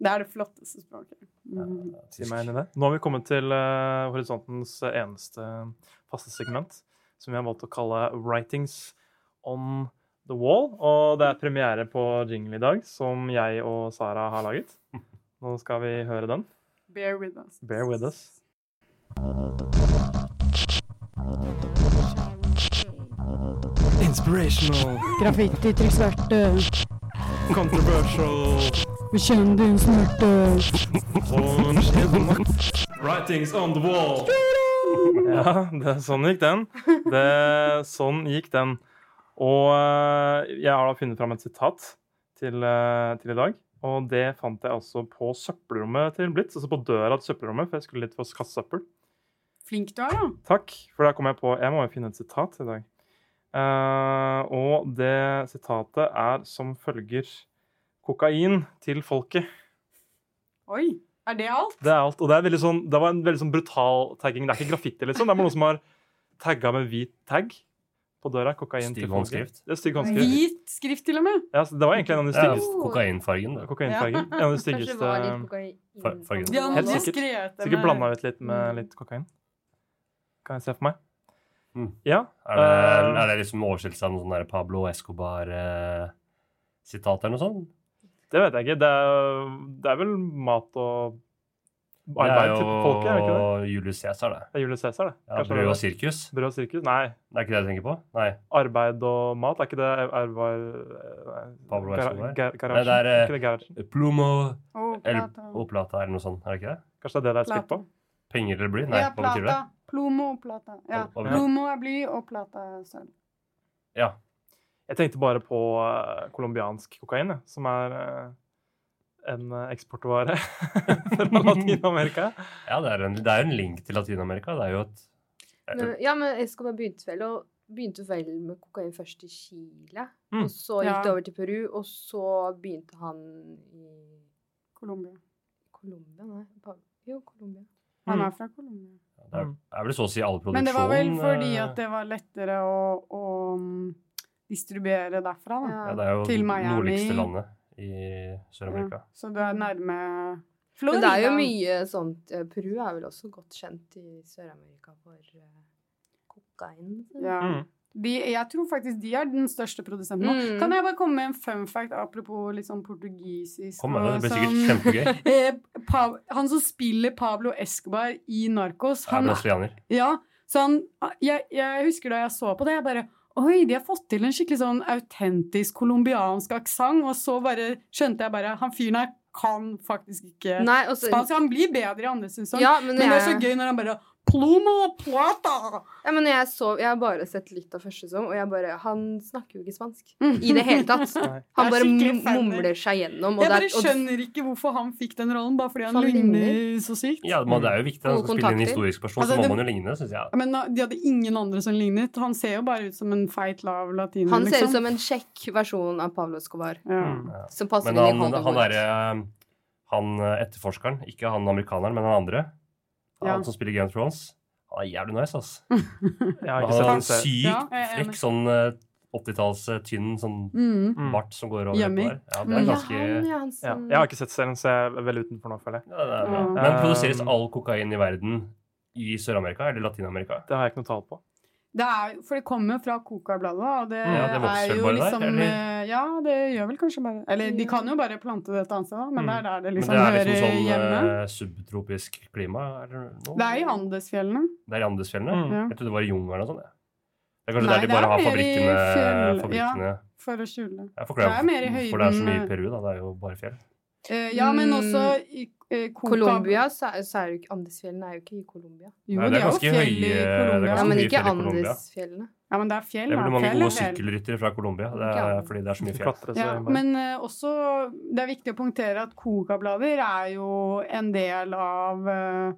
Speaker 4: Det er det flotteste språket. Mm.
Speaker 2: Si meg enig i det. Nå har vi kommet til eh, horisontens eneste faste segment, som vi har valgt å kalle Writings on the Wall. Og det er premiere på jingle i dag, som jeg og Sara har laget. Nå skal vi høre den.
Speaker 4: Bear with us.
Speaker 2: Bear with us. Inspirational.
Speaker 9: Graffiti, trykksverte,
Speaker 2: Controversial.
Speaker 9: bekjenn din smerte.
Speaker 2: Writings on the wall. Ja, det, sånn gikk den. Det, sånn gikk den. Og eh, jeg har da funnet fram et sitat til, eh, til i dag. Og det fant jeg altså på søppelrommet til Blitz, altså på døra til søppelrommet, for jeg skulle litt for kassesøppel.
Speaker 4: Flink du er, da.
Speaker 2: Takk, for da kom jeg på Jeg må jo finne et sitat i dag. Eh, og det sitatet er som følger Kokain til folket.
Speaker 4: Oi. Er det alt?
Speaker 2: Det er alt. Og det, er veldig sånn, det var en veldig sånn brutal tagging. Det er ikke graffiti, liksom. Det er bare noen som har tagga med hvit tagg på døra. Kokain
Speaker 3: Stygg
Speaker 2: til folket.
Speaker 3: håndskrift.
Speaker 2: Det er stygg håndskrift.
Speaker 4: Hvit skrift, til og med.
Speaker 2: Ja, så det var egentlig en av de
Speaker 3: Det er
Speaker 2: styggeste
Speaker 3: kokainfargen. det.
Speaker 2: kokainfargen. En av de
Speaker 5: Kanskje det var litt
Speaker 2: styggeste
Speaker 5: kokain-
Speaker 3: Far- fargen.
Speaker 4: De
Speaker 2: Helt
Speaker 4: andre
Speaker 2: sikkert.
Speaker 4: skrev
Speaker 2: Sikkert blanda ut litt
Speaker 5: Mm.
Speaker 2: med litt kokain. Kan jeg se for meg.
Speaker 3: Mm.
Speaker 2: Ja.
Speaker 3: Er det,
Speaker 2: Eh,
Speaker 3: er det liksom oversettelse av noe sånn der Pablo Escobar-sitat eller noe sånt?
Speaker 2: Det vet jeg ikke. Det er, det er vel mat og
Speaker 3: Det er
Speaker 2: arbeid til folket, er det ikke det?
Speaker 3: jo Julius Cæsar, det.
Speaker 2: Det er Julius Cæsar, det.
Speaker 3: Ja,
Speaker 2: Kanskje det
Speaker 3: Brød
Speaker 2: er
Speaker 3: og
Speaker 2: det.
Speaker 3: sirkus.
Speaker 2: Brød og sirkus? Nei.
Speaker 3: Det er ikke det jeg tenker på? Nei.
Speaker 2: Arbeid og mat, er ikke det Ervar eh,
Speaker 3: Pablo Escobar.
Speaker 2: Garasjen?
Speaker 3: Nei, det er, eh,
Speaker 2: ikke det Garasjen?
Speaker 3: Plumo
Speaker 4: Oh,
Speaker 3: eller
Speaker 4: plata.
Speaker 3: Oplata eller noe sånt, er det ikke det?
Speaker 2: Kanskje det er det det er spilt på?
Speaker 3: Penger eller bly? Nei,
Speaker 4: ja,
Speaker 3: hva betyr det?
Speaker 4: plata. Plomo og
Speaker 3: Hva-
Speaker 4: plata. Ja.
Speaker 3: hva betyr det?
Speaker 4: Plomo er bly, og plata er sølv.
Speaker 3: Ja.
Speaker 2: Jeg tenkte bare på eh, colombiansk kokain, jeg, som er eh, en eh, eksportvare fra Latin-Amerika.
Speaker 3: ja, det er en- det er jo en link til Latin-Amerika. Det er jo et
Speaker 5: Men, ja, men Escobar begynte vel, å- begynte vel med kokain først i Chile.
Speaker 2: Mm.
Speaker 5: Og så gikk
Speaker 4: Ja.
Speaker 5: det over til Peru, og så begynte han i
Speaker 4: Colombia.
Speaker 5: Colombia, nei? Pa- Jo, Colombia.
Speaker 4: Han
Speaker 2: Mm.
Speaker 4: er fra Colombia.
Speaker 3: Det er, det er vel så å si all produksjon.
Speaker 4: Men det var vel fordi
Speaker 3: eh,
Speaker 4: at det var lettere å, å mm, distribuere derfra, da.
Speaker 3: ja, det er jo
Speaker 4: til
Speaker 3: det
Speaker 4: Miami.
Speaker 3: nordligste landet i
Speaker 4: Ja.
Speaker 3: Sør-Amerika.
Speaker 4: Så du er nærme
Speaker 5: Men det er jo mye sånt eh, Peru er vel også godt kjent i Sør-Amerika for eh, kokain.
Speaker 4: Ja.
Speaker 2: Mm.
Speaker 4: De, jeg tror faktisk de er den største produsenten nå.
Speaker 5: Mm.
Speaker 4: Kan jeg bare komme med en fun fact apropos litt sånn portugisisk?
Speaker 3: Kom med
Speaker 4: og
Speaker 3: det, det blir
Speaker 4: sånn-
Speaker 3: sikkert kjempegøy.
Speaker 4: Eh, Pa- han som spiller Pablo Escobar i Narcos,
Speaker 3: Er
Speaker 4: han
Speaker 3: brasilianer.
Speaker 4: Ja, så han, jeg, jeg husker da jeg så på det, jeg bare Oi, de har fått til en skikkelig sånn autentisk colombiansk aksent, og så bare skjønte jeg bare Han fyren her kan faktisk ikke
Speaker 5: Nei, og så
Speaker 4: spansk. Han blir bedre i andre sesong,
Speaker 5: Ja, men,
Speaker 4: sånn. men det er så
Speaker 5: jeg-
Speaker 4: gøy når han bare Plomo plata!
Speaker 5: Ja, men jeg, så, jeg har bare sett litt av første sesong, og jeg bare Han snakker jo ikke spansk Mm, i det hele tatt.
Speaker 2: Nei.
Speaker 5: Han
Speaker 4: Det er
Speaker 5: bare
Speaker 4: skikkelig
Speaker 5: mum-
Speaker 4: funny.
Speaker 5: mumler seg gjennom. Og
Speaker 4: Jeg
Speaker 5: det
Speaker 4: bare
Speaker 5: er- og-
Speaker 4: skjønner ikke hvorfor han fikk den rollen, bare fordi han
Speaker 5: Han
Speaker 4: ligner
Speaker 5: ligner.
Speaker 4: så sykt.
Speaker 3: Ja, men det er jo viktig. Når man
Speaker 5: Gode
Speaker 3: skal spille en
Speaker 5: kontakter.
Speaker 3: historisk person,
Speaker 4: Mm. Altså,
Speaker 3: så må
Speaker 4: det-
Speaker 3: man jo ligne, syns jeg.
Speaker 4: Men da- de hadde ingen andre som lignet. Han ser jo bare ut som en feit, lav latiner,
Speaker 5: Han ser
Speaker 4: liksom.
Speaker 5: ut som en kjekk versjon av Pablo Escobar.
Speaker 4: ja.
Speaker 2: Mm.
Speaker 4: Altså,
Speaker 5: Som passer
Speaker 3: Men
Speaker 5: inn i
Speaker 3: han, eh, han
Speaker 5: Hollywood.
Speaker 3: derre Han eh, etterforskeren, ikke han amerikaneren, men han andre, han
Speaker 4: Ja.
Speaker 3: som spiller Game of Thrones, han er jævlig nice, ass.
Speaker 2: Jeg har
Speaker 3: Han
Speaker 2: ikke
Speaker 3: har
Speaker 2: sett
Speaker 3: en
Speaker 2: den serien.
Speaker 3: sykt
Speaker 4: Ja, jeg er enig.
Speaker 3: frekk sånn eh, 80-talls eh, tynn sånn
Speaker 4: Mm.
Speaker 2: Mm.
Speaker 3: bart som går over
Speaker 4: Yummy.
Speaker 3: der. Ja, det er
Speaker 4: Mm.
Speaker 3: ganske
Speaker 5: Ja, han, ja,
Speaker 2: Ja.
Speaker 5: han som-
Speaker 2: Jeg har ikke sett serien, så jeg er veldig utenfor nå, føler jeg.
Speaker 3: ja, det er bra.
Speaker 4: Ja.
Speaker 3: Men
Speaker 2: Um,
Speaker 3: produseres all kokain i verden i Sør-Amerika eller Latin-Amerika?
Speaker 2: Det har jeg ikke noe tall på.
Speaker 4: Det er, for det kommer fra Coca-bladet, og det,
Speaker 3: Ja, det vokser
Speaker 4: er jo
Speaker 3: bare der,
Speaker 4: liksom
Speaker 3: eller?
Speaker 4: eh, Ja, det gjør vel kanskje bare Eller de kan jo bare plante det et annet sted, da, men
Speaker 2: Mm.
Speaker 4: det er der det
Speaker 3: Men
Speaker 4: liksom,
Speaker 3: det er liksom
Speaker 4: hører
Speaker 3: sånn
Speaker 4: hjemme.
Speaker 3: eh, subtropisk klima? Eller noe?
Speaker 4: Det er i Andesfjellene.
Speaker 3: Det er i Andesfjellene?
Speaker 2: Mm.
Speaker 4: Ja.
Speaker 3: Jeg trodde det var i jungelen og sånn. jeg. Det er kanskje
Speaker 4: Nei,
Speaker 3: der de
Speaker 4: det er
Speaker 3: bare har
Speaker 4: mer i
Speaker 3: fabrikkene.
Speaker 4: fjell-
Speaker 3: fabrikkene.
Speaker 4: For å skjule.
Speaker 3: Jeg forklarer
Speaker 4: Det er mer i
Speaker 3: hvorfor det er så mye
Speaker 4: høyden,
Speaker 3: i Peru. da, Det er jo bare fjell.
Speaker 4: Eh, ja, men
Speaker 5: Mm.
Speaker 4: også i eh, Coca-
Speaker 5: Colombia, så er, så er jo ikke Andesfjellene er jo ikke i Colombia.
Speaker 4: Jo,
Speaker 3: Nei, det er
Speaker 4: det er jo
Speaker 3: ganske
Speaker 4: fjell i
Speaker 3: høye- det er
Speaker 4: Colombia.
Speaker 3: ganske
Speaker 5: Ja, men
Speaker 3: mye
Speaker 5: ikke
Speaker 3: fjell i Colombia.
Speaker 5: Andesfjellene.
Speaker 4: Ja, men det er fjell.
Speaker 3: Det er
Speaker 4: da.
Speaker 3: veldig mange
Speaker 4: Fjell
Speaker 3: gode
Speaker 4: fjell.
Speaker 3: sykkelryttere fra Colombia. Det
Speaker 5: Ikke
Speaker 3: er,
Speaker 5: alle.
Speaker 3: fordi det er så mye
Speaker 2: Du
Speaker 3: fjell.
Speaker 2: klatrer så
Speaker 4: Ja,
Speaker 2: mye.
Speaker 4: men eh, også det er viktig å punktere at coca-blader er jo en del av eh,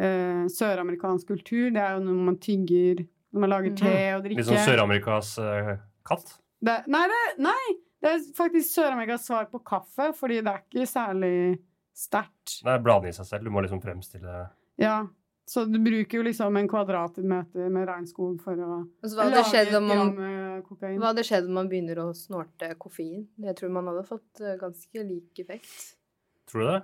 Speaker 4: eh, søramerikansk kultur. Det er jo noe man tygger Når man
Speaker 5: Mhm.
Speaker 4: lager te og drikke.
Speaker 3: Litt sånn Sør-Amerikas eh, katt.
Speaker 4: Det, nei, det, nei, det er faktisk Sør-Amerikas svar på kaffe, fordi det er ikke særlig sterkt.
Speaker 3: Det er bladene i seg selv. Du må liksom fremstille
Speaker 4: Ja. Så du bruker jo liksom en kvadratmeter med regnskog for å
Speaker 5: Altså, hva hadde skjedd om man,
Speaker 4: med eh, kokain.
Speaker 5: hva hadde skjedd om man begynner å snorte koffein? Jeg tror man hadde fått eh, ganske lik effekt.
Speaker 3: Tror du det?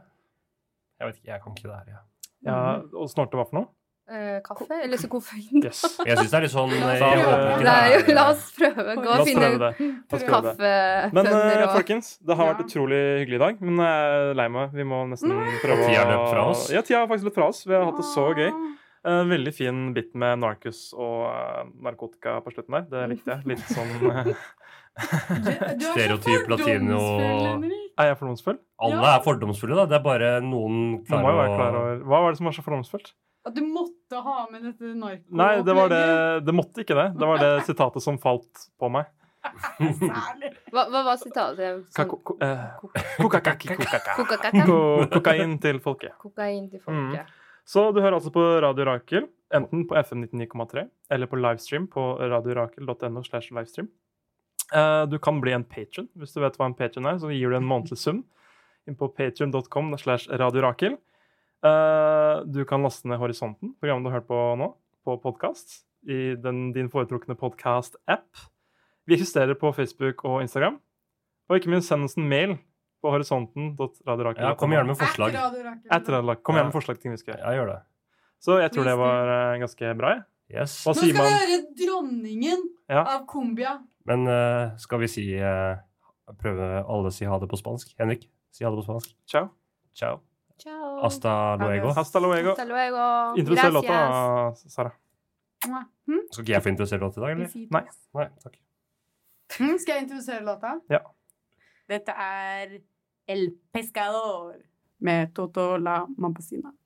Speaker 3: Jeg vet ikke, jeg kan ikke det her. Ja.
Speaker 2: Ja, og snorte hva for noe?
Speaker 5: Eh, kaffe? Eller så koffein?
Speaker 2: Yes.
Speaker 3: Jeg syns det er litt sånn eh,
Speaker 2: prøve
Speaker 3: jeg håper ikke
Speaker 2: det.
Speaker 5: Det er
Speaker 3: det
Speaker 5: jo,
Speaker 3: er- eh,
Speaker 5: la oss prøve. Gå
Speaker 2: La
Speaker 5: og
Speaker 2: oss
Speaker 5: finne
Speaker 2: prøve det. La oss prøve det. Men
Speaker 5: kaffebønner
Speaker 2: eh,
Speaker 5: og
Speaker 2: folkens, det har vært
Speaker 4: Ja.
Speaker 2: utrolig hyggelig i dag. Men jeg er lei meg. Vi må nesten prøve å
Speaker 3: Tida løp fra oss.
Speaker 2: Ja, tida har faktisk løpt fra oss. Vi har hatt det så gøy. Eh, veldig fin bit med narkos og eh, narkotika på slutten der. Det likte jeg. Litt sånn eh,
Speaker 3: Stereotyp latino
Speaker 2: Er jeg fordomsfull?
Speaker 3: Alle er fordomsfulle, da. Det er bare noen
Speaker 2: Du må jo være klar
Speaker 3: klarer å
Speaker 2: over Hva var det som var så fordomsfullt?
Speaker 4: At du måtte ha med dette narko...
Speaker 2: Nei, det var det Det måtte ikke det. Det var det sitatet som falt på meg.
Speaker 5: Hva, hva var sitatet? Sånn,
Speaker 2: Kako- ko- eh, kokakaki, kokaka.
Speaker 5: Koka-kaka?
Speaker 2: Ko- Mm. Kokain til folket.
Speaker 5: Kokain til folket.
Speaker 2: Så du hører altså på Radio Rakel, enten på FM 99,3 eller på livestream på radiorakel.no. slash livestream. Eh, Du kan bli en patron, hvis du vet hva en patron er, så gir du en månedlig sum inn på patron.com slash radiorakel. Eh, Du kan laste ned Horisonten, programmet du har hørt på nå, på podkast, i den, din foretrukne podkast-app. Vi eksisterer på Facebook og Instagram. Og ikke minst send oss en mail på horisonten.radiorakel.
Speaker 3: Ja, kom gjerne med forslag.
Speaker 4: Etter Radio Rakel.
Speaker 2: Etter alle lag. Kom
Speaker 3: Ja.
Speaker 2: gjerne med forslag til ting vi skal gjøre.
Speaker 3: Ja, gjør det.
Speaker 2: Så jeg tror det var eh, ganske bra. jeg.
Speaker 3: Yes.
Speaker 2: Hva
Speaker 4: Nå
Speaker 2: sier
Speaker 4: skal du
Speaker 2: man?
Speaker 4: høre dronningen
Speaker 2: Ja.
Speaker 4: av Kumbia.
Speaker 3: Men eh, skal vi si eh, Prøve alle si ha det på spansk? Henrik, si ha det på spansk.
Speaker 2: Ciao.
Speaker 3: Ciao.
Speaker 5: Ciao.
Speaker 3: Hasta luego.
Speaker 4: Adios.
Speaker 2: Hasta luego.
Speaker 5: Hasta luego.
Speaker 2: Introduser
Speaker 5: Gracias.
Speaker 2: låta, Sara.
Speaker 4: Hm?
Speaker 3: Skal ikke jeg få introdusere låt i dag, eller?
Speaker 2: Nei.
Speaker 3: Nei, takk.
Speaker 4: Mm, Skal jeg introdusere låta?
Speaker 2: Ja.
Speaker 4: Dette er El Pescador med Toto La Mampasina.